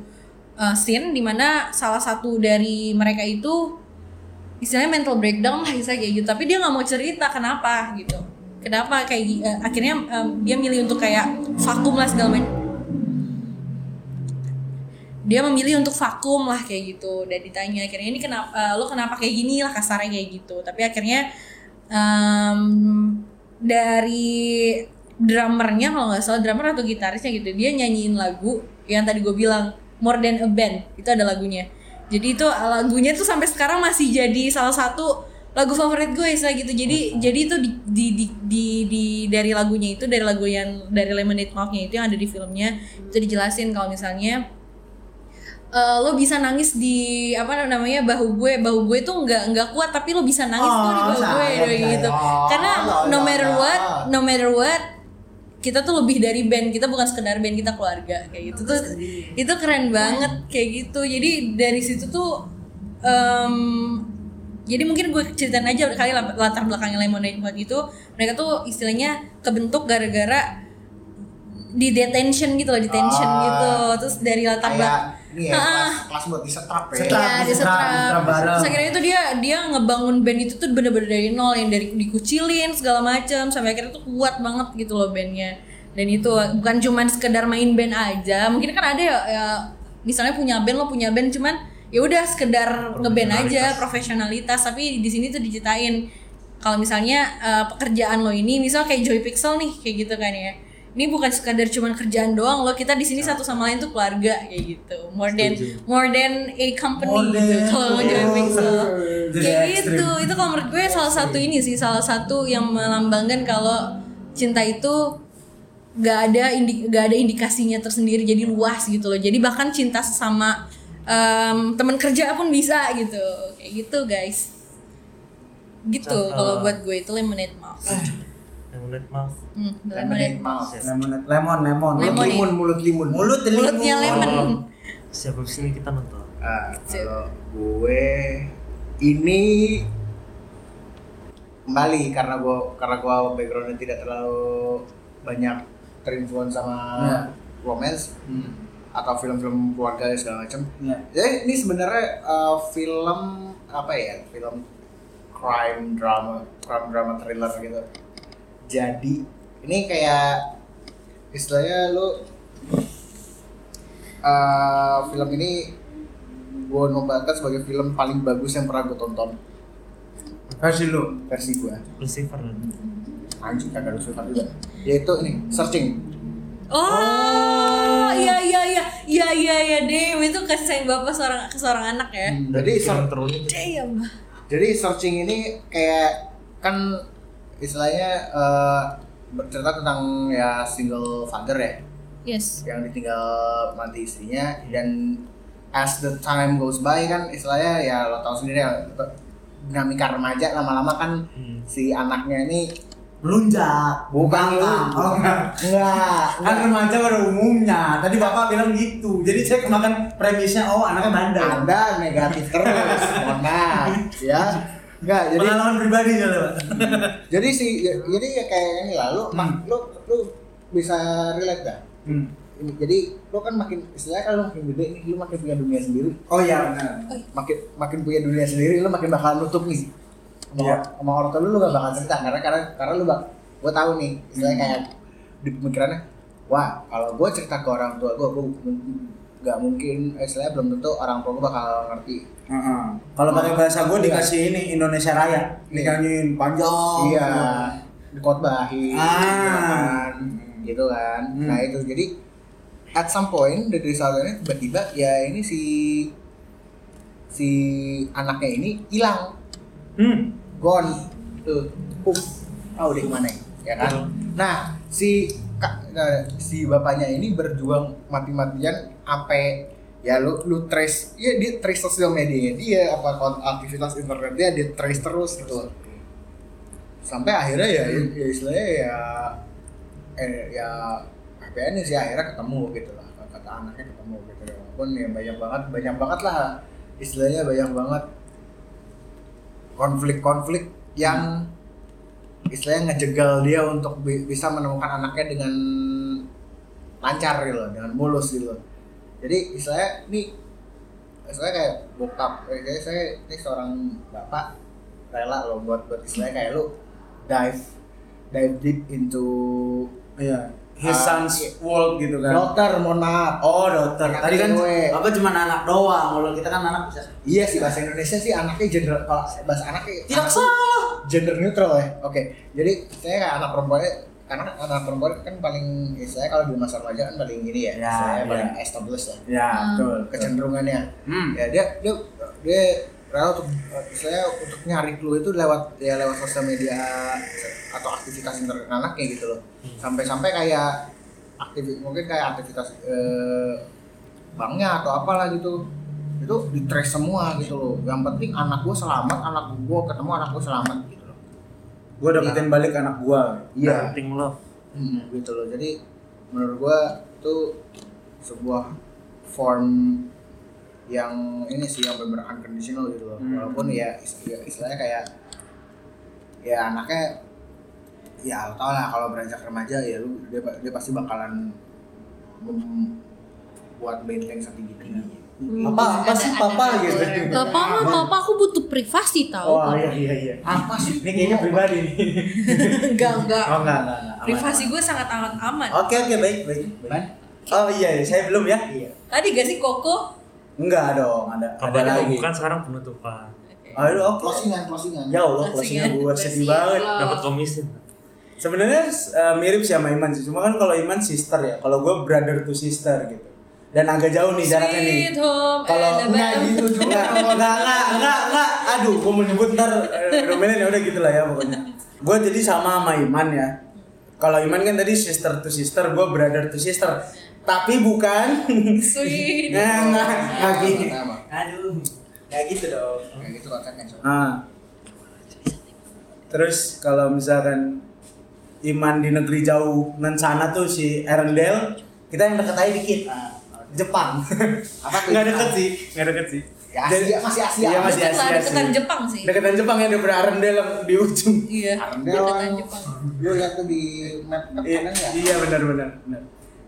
S4: uh, scene dimana salah satu dari mereka itu istilahnya mental breakdown lah istilahnya kayak gitu tapi dia nggak mau cerita kenapa gitu kenapa kayak gi- uh, akhirnya um, dia milih untuk kayak vakum lah segala macam dia memilih untuk vakum lah kayak gitu dan ditanya akhirnya ini kenapa eh, lo kenapa kayak gini lah kasarnya kayak gitu tapi akhirnya em, dari drummernya kalau nggak salah drummer atau gitarisnya gitu dia nyanyiin lagu yang tadi gue bilang more than eh, a band itu ada lagunya jadi itu lagunya tuh sampai sekarang masih jadi salah satu lagu favorit gue Isa gitu jadi jadi itu di, di, di, di- di- dari lagunya itu dari lagu yang dari Lemonade Mouth-nya itu yang ada di filmnya itu dijelasin kalau misalnya eh, lo bisa nangis di apa namanya bahu gue bahu gue tuh nggak nggak kuat tapi lo bisa nangis
S1: Oh,
S4: tuh di bahu gue
S1: sayang, sayang.
S4: gitu
S1: Oh,
S4: karena no
S1: sayang.
S4: matter what no matter what kita tuh lebih dari band kita bukan sekedar band kita keluarga kayak gitu tuh itu keren banget kayak gitu jadi dari situ tuh em, jadi mungkin gue ceritain aja kali la- latar belakangnya Lemonade Mouth itu mereka tuh istilahnya kebentuk gara-gara di detention gitu loh detention
S1: Ah.
S4: gitu terus dari latar
S1: kayak
S4: belakang
S1: ini ya,
S4: Ah.
S1: kelas, kelas buat disetrap ya.
S5: Setrap.
S4: Iya, di
S5: disetrap, disetrap
S4: setrap.
S5: bareng.
S4: Terus akhirnya itu dia dia ngebangun band itu tuh bener-bener dari nol yang dari dikucilin segala macam sampai akhirnya tuh kuat banget gitu loh bandnya. Dan itu bukan cuman sekedar main band aja. Mungkin kan ada ya, ya, misalnya punya band lo punya band cuman ya udah sekedar ngeband aja profesionalitas tapi di sini tuh diceritain kalau misalnya eh, pekerjaan lo ini misal kayak Joy Pixel nih kayak gitu kan ya ini bukan sekadar cuman kerjaan doang lo kita di sini satu sama lain tuh keluarga kayak gitu more than more than a company gitu kalau mau join Pixel
S6: Jadi
S4: kayak
S6: ekstrim.
S4: gitu itu kalau menurut gue salah satu ini sih salah satu yang melambangkan kalau cinta itu gak ada indi gak ada indikasinya tersendiri jadi luas gitu loh jadi bahkan cinta sesama em, teman kerja pun bisa gitu kayak gitu guys gitu
S3: Contoh.
S4: kalau buat gue itu lemonade mouth
S3: Lemonade Mouth.
S4: Hmm,
S1: Lemonade
S4: lemonade
S1: mouth.
S6: lemon lemon
S1: Mulut
S6: lemon
S4: Lemon. ya?
S1: limun, mulut limun.
S6: mulut limun.
S4: mulutnya lemon
S3: Siap habis ini kita nonton.
S1: Ah, kalau gue ini kembali karena gue karena gue backgroundnya tidak terlalu banyak terinfluence sama
S6: Iya.
S1: romance
S6: Hmm,
S1: atau film-film keluarga segala macam.
S6: iya.
S1: Jadi Ya, ini sebenarnya uh, film apa ya? Film crime drama, crime drama thriller gitu. Jadi ini kayak istilahnya lu uh, film ini gue nobatkan sebagai film paling bagus yang pernah gue tonton
S6: versi lu
S1: versi gue.
S3: Lucifer.
S1: Anjing kagak ada suka juga. Yaitu ini Searching.
S4: Oh, iya iya iya iya iya iya damn itu kasih sayang bapak seorang ke seorang anak ya.
S1: Jadi Searching
S3: Film terus
S4: Damn.
S1: Jadi searching ini kayak kan istilahnya eh, bercerita tentang ya single father ya
S4: Yes.
S1: yang ditinggal mati istrinya dan as the time goes by kan istilahnya ya lo tau sendiri ya dinamika remaja lama-lama kan
S3: Hmm.
S1: si anaknya ini
S6: melunjak
S1: Bukan lu.
S6: oh enggak
S1: enggak
S6: kan remaja pada umumnya tadi bapak bilang gitu jadi saya kemakan premisnya oh anaknya bandel
S1: anda negatif terus mohon maaf ya enggak jadi
S6: pengalaman pribadi ya pak
S1: jadi si jadi ya kayak ini lah lu
S6: Hmm.
S1: lu lu bisa relate gak?
S6: Hmm.
S1: ini jadi lo kan makin istilahnya kan lo makin gede nih lo makin punya dunia sendiri
S6: oh iya benar
S1: makin makin punya dunia sendiri lo makin bakalan nutup nih sama,
S6: Iya.
S1: sama orang tua lo lo gak bakal cerita karena karena karena lo bak gue tahu nih istilahnya
S6: Hmm.
S1: kayak di pemikirannya wah kalau gue cerita ke orang tua gue gue gak mungkin eh, istilahnya belum tentu orang tua gue bakal ngerti
S6: Heeh. Iya. Kalau pakai bahasa gue
S1: Iya.
S6: dikasih ini Indonesia Raya, nikahin panjang.
S1: iya dikotbahin
S6: Ah.
S1: gitu kan. gitu kan
S6: Hmm.
S1: nah itu jadi at some point dari saat ini tiba-tiba ya ini si si anaknya ini hilang
S6: Hmm.
S1: gone tuh Pup. tahu deh kemana ya kan nah si ka- nah, si bapaknya ini berjuang mati-matian apa ya lu lu trace ya dia trace sosial medianya dia apa kon- aktivitas internetnya dia trace terus gitu loh. sampai akhirnya ya, ya istilahnya ya eh, ya HPN sih akhirnya ketemu gitu lah kata anaknya ketemu gitu walaupun ya banyak banget banyak banget lah istilahnya banyak banget konflik-konflik yang istilahnya ngejegal dia untuk bi- bisa menemukan anaknya dengan lancar gitu loh, dengan mulus gitu loh. Jadi istilahnya ini istilahnya kayak bokap, eh, kayak saya ini seorang bapak rela loh buat buat istilahnya kayak lu dive dive deep into
S6: Iya. His
S1: Ah,
S6: son's
S1: iya.
S6: world gitu kan.
S1: dokter mohon maaf
S6: Oh dokter.
S1: Anak
S6: Tadi kan
S1: cewek.
S6: apa cuma anak doang. Kalau kita kan anak bisa.
S1: iya sih bahasa Indonesia sih anaknya gender kalau bahasa anaknya
S6: Tidak salah.
S1: gender neutral ya oke jadi saya kayak anak perempuannya karena anak perempuan kan paling ya saya kalau di masa remaja kan paling ini ya,
S6: Ya,
S1: saya
S6: ya.
S4: Ah.
S1: paling established lah
S6: Ya betul.
S1: kecenderungannya
S6: Hmm.
S1: ya dia dia dia Rel untuk eh, saya untuk nyari clue itu lewat ya lewat sosial media atau aktivitas internet anaknya gitu loh. Sampai-sampai kayak aktivitas mungkin kayak aktivitas eh, banknya atau apalah gitu itu di trace semua gitu loh. Yang penting anak gue selamat, anak gue ketemu anak gue selamat gitu loh.
S6: gue dapetin balik anak gue
S3: Parenting love.
S1: Hmm, gitu loh. Jadi menurut gua itu sebuah form yang ini sih yang benar-benar unconditional gitu loh.
S6: Hmm.
S1: Walaupun ya, is- ya istilahnya kayak ya anaknya ya tau lah kalau beranjak remaja ya lu dia, pa- dia pasti bakalan membuat benteng gitu. setinggi
S6: Iya.
S1: tingginya.
S4: Hmm.
S6: apa apa sih papa gitu
S4: Papa mah papa aku butuh privasi tau.
S6: oh iya iya iya
S1: Apa sih?
S6: ini kayaknya pribadi nih
S4: Enggak enggak.
S6: oh enggak enggak enggak. Aman, Oh.
S4: Privasi gue sangat amat aman.
S6: aman. oke oke baik baik
S1: Ban?
S6: baik oh iya iya saya belum ya
S4: Tadi gak sih Koko?
S6: enggak dong ada ada
S3: Kabarnya
S6: lagi Oh, iya,
S3: bukan sekarang penutupan.
S6: aduh oke
S1: Closingan, closingan.
S6: ya Allah
S4: Closing
S6: closingnya
S4: ya.
S6: gue sedih banget
S4: Oh.
S3: Dapat komisi.
S6: Sebenarnya eh, mirip sih sama Iman sih, cuma kan kalau Iman sister ya, kalau gue brother to sister gitu. Dan agak jauh nih jaraknya nih.
S4: Sweet oh, home eh,
S6: Kalau
S4: Alabama.
S1: Nah gitu juga.
S6: Enggak, enggak, enggak, enggak, enggak. Aduh, gue mau nyebut ntar eh, domainnya ya udah gitu lah ya pokoknya. Gue jadi sama sama Iman ya. Kalau Iman kan tadi sister to sister, gue brother to sister. Tapi bukan.
S4: Sweet.
S6: Nah, enggak, enggak gitu.
S1: Sama.
S6: Aduh, enggak gitu dong.
S1: Kayak gitu konsepnya. coba.
S6: Nah. Terus kalau misalkan Iman di negeri jauh ngan sana tuh si Erendel, kita yang deket aja dikit. Ah, Jepang.
S1: Apa tuh?
S6: Nggak deket sih, nggak deket sih.
S1: Ya, Asia, masih Asia.
S6: Iya, masih
S4: Deket lah
S6: Asia
S4: deketan
S6: sih.
S4: Jepang sih.
S6: Deketan Jepang ya daripada Arendel yang di ujung.
S4: Iya. Deketan
S1: Arendelle.
S4: Jepang.
S1: Lu lihat tuh di map map
S6: I-
S1: kanan ya?
S6: iya benar benar benar.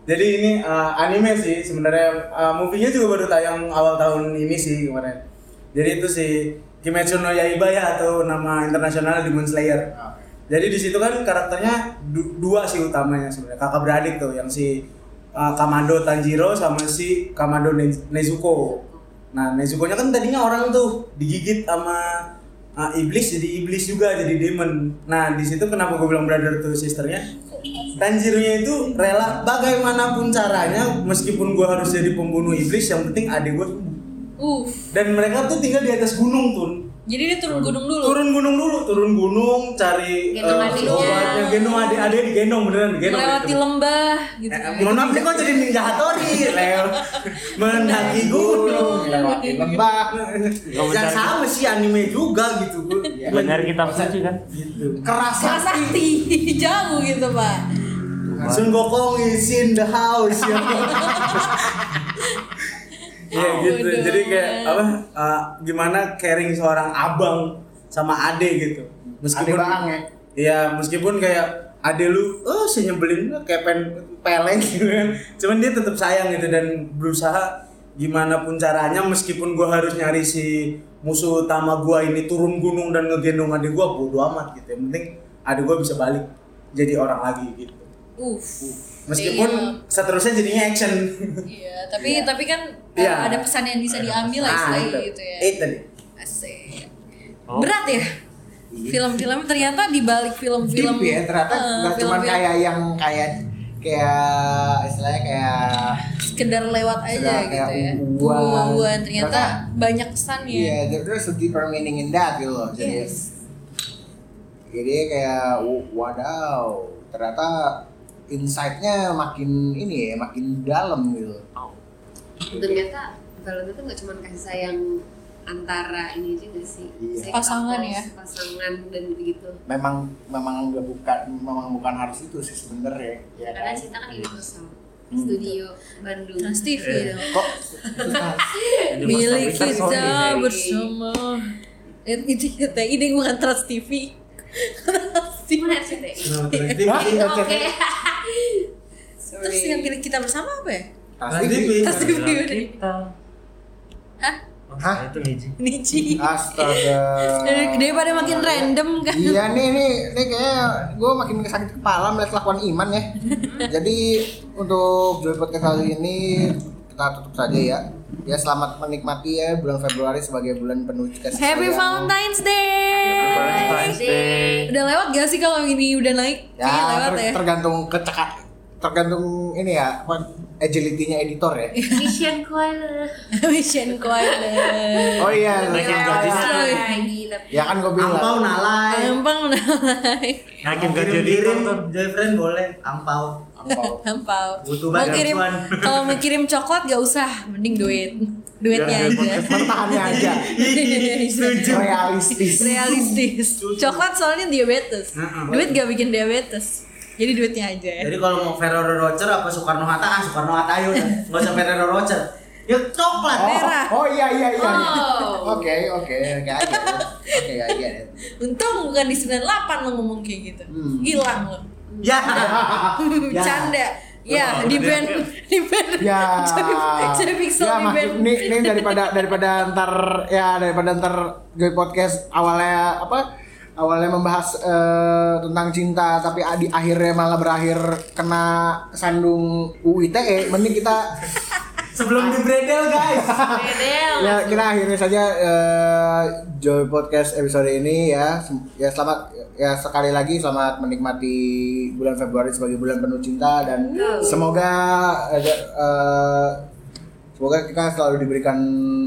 S6: Jadi ini uh, anime sih sebenarnya uh, movie-nya juga baru tayang awal tahun ini sih kemarin. Jadi itu si Kimetsu no Yaiba ya atau nama internasional Demon Slayer. Jadi di situ kan karakternya du- dua sih utamanya sebenarnya kakak beradik tuh yang si uh, Kamado Tanjiro sama si Kamado Ne- Nezuko. Nah Nezuko-nya kan tadinya orang tuh digigit sama uh, iblis jadi iblis juga jadi demon. Nah di situ kenapa gue bilang brother to sisternya? Tanjironya itu rela bagaimanapun caranya meskipun gue harus jadi pembunuh iblis yang penting adik gue sembuh.
S4: Uff.
S6: Dan mereka tuh tinggal di atas gunung tuh
S4: Jadi dia turun gunung dulu.
S6: turun gunung dulu turun gunung cari
S2: Gendong
S6: eh,
S2: adiknya.
S6: obatnya gendong adik adik digendong beneran digendong
S4: melewati lembah gitu.
S6: Eh,
S4: kan.
S6: mohon maaf nih kok jadi ninja hatori Leo mendaki gunung
S1: Lewati
S4: Iya.
S1: lembah.
S6: yang sama sih anime juga gitu
S3: Benar kita suci kan?
S6: gitu
S4: Salah
S1: Kerasa.
S4: sakti jauh gitu pak.
S6: Sun Gokong is in the house ya Iya
S1: Oh,
S6: gitu,
S4: Bodoh.
S6: jadi kayak apa? eh, gimana caring seorang abang sama ade gitu,
S1: Ade
S6: meskipun
S1: Baang ya?
S6: Iya, meskipun kayak ade lu, oh sih nyebelin kayak pen peleng gitu kan. Cuman dia tetap sayang gitu dan berusaha gimana pun caranya meskipun gua harus nyari si musuh utama gua ini turun gunung dan ngegendong ade gua bodo amat gitu. Yang penting ade gua bisa balik jadi orang lagi gitu.
S4: Uff.
S6: Meskipun seterusnya jadinya action.
S4: Iya. Iya, tapi tapi kan
S6: Iya.
S4: eh, ada pesan yang bisa diambil lah
S6: Ah,
S4: istilahnya
S6: itu.
S4: gitu ya.
S6: Itu deh.
S4: Asik.
S3: Oh.
S4: Berat ya? Film-film ternyata di balik film-film
S1: Deep ya ternyata
S4: eh,
S1: nggak cuma
S4: film-film
S1: kayak yang kayak kayak istilahnya kayak
S4: sekedar lewat aja
S1: Sekedar kayak
S4: gitu ya.
S1: ubuan.
S4: Ubuan, ternyata
S1: Ternyata-
S4: banyak pesannya. Iya.
S1: iya there- there's a deeper meaning in that gitu loh. Jadi
S4: Yes.
S1: jadi kayak w- wadaw ternyata insight-nya makin ini ya makin dalam gitu.
S2: ternyata Valentine tuh nggak cuma kasih sayang antara ini juga sih
S1: Iya.
S2: Kayak
S4: Pasangan
S2: couples,
S4: ya.
S2: pasangan dan begitu
S1: Memang memang nggak bukan memang bukan harus itu sih sebenarnya ya
S2: karena
S1: kan.
S2: Cinta kan universal studio Bandung
S4: Trans TV
S3: Iya.
S4: dong.
S1: Kok susah?
S3: Jadi
S4: Milik
S3: Mas Tawikar Sony,
S4: kita
S3: Harry.
S4: bersama. Eh, Itu TI deh bukan Trans TV.
S2: Gimana RCTI?
S1: Hah?
S6: Nah, terus-
S2: Oke.
S4: Terus yang pilih kita bersama apa ya?
S1: Pasti
S4: Trans TV
S3: Adalah
S4: udah.
S3: Kita.
S4: Hah?
S3: Hah? Itu Niji.
S1: Eh,
S4: Niji.
S1: Astaga.
S4: Dari- Daripada Eh, makin random kan.
S1: Iya nih nih nih kayaknya gue makin sakit kepala melihat kelakuan Iman ya. Jadi untuk Joy Podcast kali ini kita tutup saja ya. Ya selamat menikmati ya bulan Februari sebagai bulan penuh kasih
S4: Happy
S1: sayang.
S4: Valentine's Day.
S3: Valentine's Day.
S4: Udah lewat gak sih kalau ini udah naik?
S1: Ya
S4: Kayaknya Iya, lewat
S1: ter-
S4: ya.
S1: tergantung keceka tergantung ini ya apa agility-nya editor ya.
S2: Mission Choir.
S4: Mission Choir.
S1: Oh iya.
S3: Naikin
S1: iya.
S3: gajinya.
S2: Lagi tapi
S1: Ya kan gue bilang.
S6: Ampau nalai.
S4: Gampang nalai.
S3: Naikin
S6: Mau
S3: gaji editor
S6: kirim-kirim,
S3: tuh.
S6: Joyfriend boleh, ampau.
S1: Ampau.
S4: Gampang.
S6: Butuh
S4: Mau
S6: bantuan.
S4: kirim kalau mau kirim coklat gak usah, mending duit. Duitnya
S3: Biar
S4: aja. Iya,
S3: dapat
S1: Bertahannya Iya, aja. Realistis.
S4: Realistis. Coklat soalnya diabetes.
S6: Heeh.
S4: Duit gak bikin diabetes. Jadi duitnya aja.
S6: Jadi kalau mau Ferrero Rocher apa Soekarno Hatta, ah Soekarno Hatta ayo udah. Nggak usah Ferrero Rocher. Ya coklat.
S1: Oh,
S4: Merah.
S1: Oh iya iya iya.
S2: Oh.
S1: Oke oke oke aja. ya. Oke aja.
S4: Untung bukan di 98 lo ngomong kayak gitu.
S1: Hmm.
S4: Hilang lo.
S6: Ya. Ya.
S4: Canda. Ya, di band di band.
S1: Ya.
S4: jadi, jadi pixel
S1: ya,
S4: di
S1: mak-
S4: band.
S1: Ini, ini daripada daripada ntar ya daripada ntar gue podcast awalnya apa awalnya membahas eh, tentang cinta tapi di akhirnya malah berakhir kena sandung UITE E, mending kita
S6: Sebelum di bredel guys.
S2: Bedel.
S1: ya kita akhirnya saja eh, Joy Podcast episode ini ya Sem- ya selamat ya sekali lagi selamat menikmati bulan Februari sebagai bulan penuh cinta dan semoga eh, eh, semoga kita selalu diberikan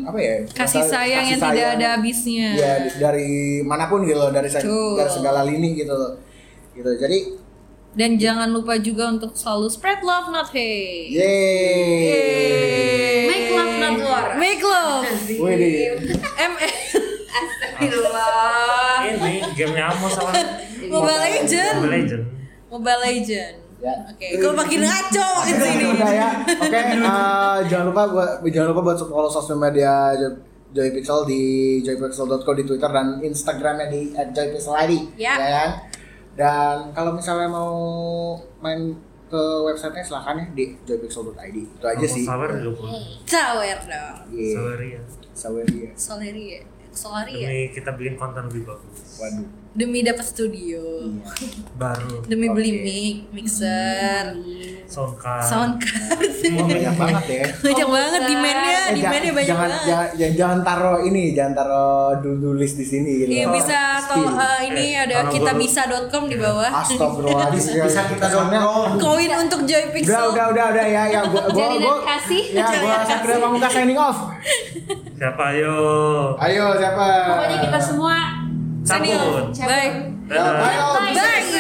S1: apa ya
S4: Kasih
S1: rasa-
S4: sayang
S1: kasih
S4: yang tidak
S1: sayang.
S4: ada habisnya.
S1: Iya, di- dari manapun gitu loh dari, se-
S4: Betul.
S1: dari segala lini gitu loh. gitu jadi
S4: Dan jangan lupa juga untuk selalu spread love not hate.
S1: yeay
S2: Make love not war.
S4: Make love. E.
S1: Widih.
S4: ML.
S2: Astagfirullah.
S3: Ini gamenya Amos sama
S4: Mobile Legend.
S3: Mobile Legend.
S4: Mobile Legend.
S1: Ya.
S4: Oke, kalau makin ngaco di sini.
S1: udah ya. Oke, eh, jangan lupa buat jangan lupa buat follow sosial media Jo- Joy Pixel di joypixel.co di Twitter dan Instagramnya di @joypixelid.
S4: Ya.
S1: kan? Dan kalau misalnya mau main ke websitenya silahkan ya di joypixel.id. Itu aja sih.
S3: Sawer juga boleh.
S4: Tower dong. ya?
S1: Iya.
S3: Sawer ya.
S4: Oh,
S1: Sawer iya. dia.
S4: Soleria. Solaria.
S3: Demi kita bikin konten lebih bagus.
S1: Waduh.
S4: Demi dapat studio.
S1: Iya.
S3: Baru.
S4: Demi beli
S1: Oke.
S4: mic, mixer,
S3: Soundcard.
S4: sound card.
S1: Banyak banget ya.
S4: Banyak banget demandnya,
S1: Eh, jangan,
S4: demandnya banyak
S1: jangan,
S4: banget.
S1: jangan, jangan, jangan taruh ini, jangan taruh dulu list di Iya. sini gitu.
S4: Iya bisa tol
S1: Spill.
S4: eh, ini
S3: Eh,
S4: ada
S3: kalau
S4: kita
S3: gua-
S4: bisa.com di bawah.
S1: Astagfirullahaladzim.
S6: Bisa kita
S1: Kesannya-
S6: dorong.
S4: Koin untuk Joy
S1: Udah,
S4: Pixel.
S1: udah, udah, udah ya, ya, gua, gua,
S2: Jadi
S1: gua,
S2: dan kasih.
S1: ya, gua Satria Pamungkas signing off.
S3: Siapa ayo?
S1: Ayo, siapa?
S2: Pokoknya kita semua
S4: Sini,
S3: Sabun.
S4: Bye.
S1: Ya,
S3: Dadah.
S1: Bye. Om.
S4: Bye.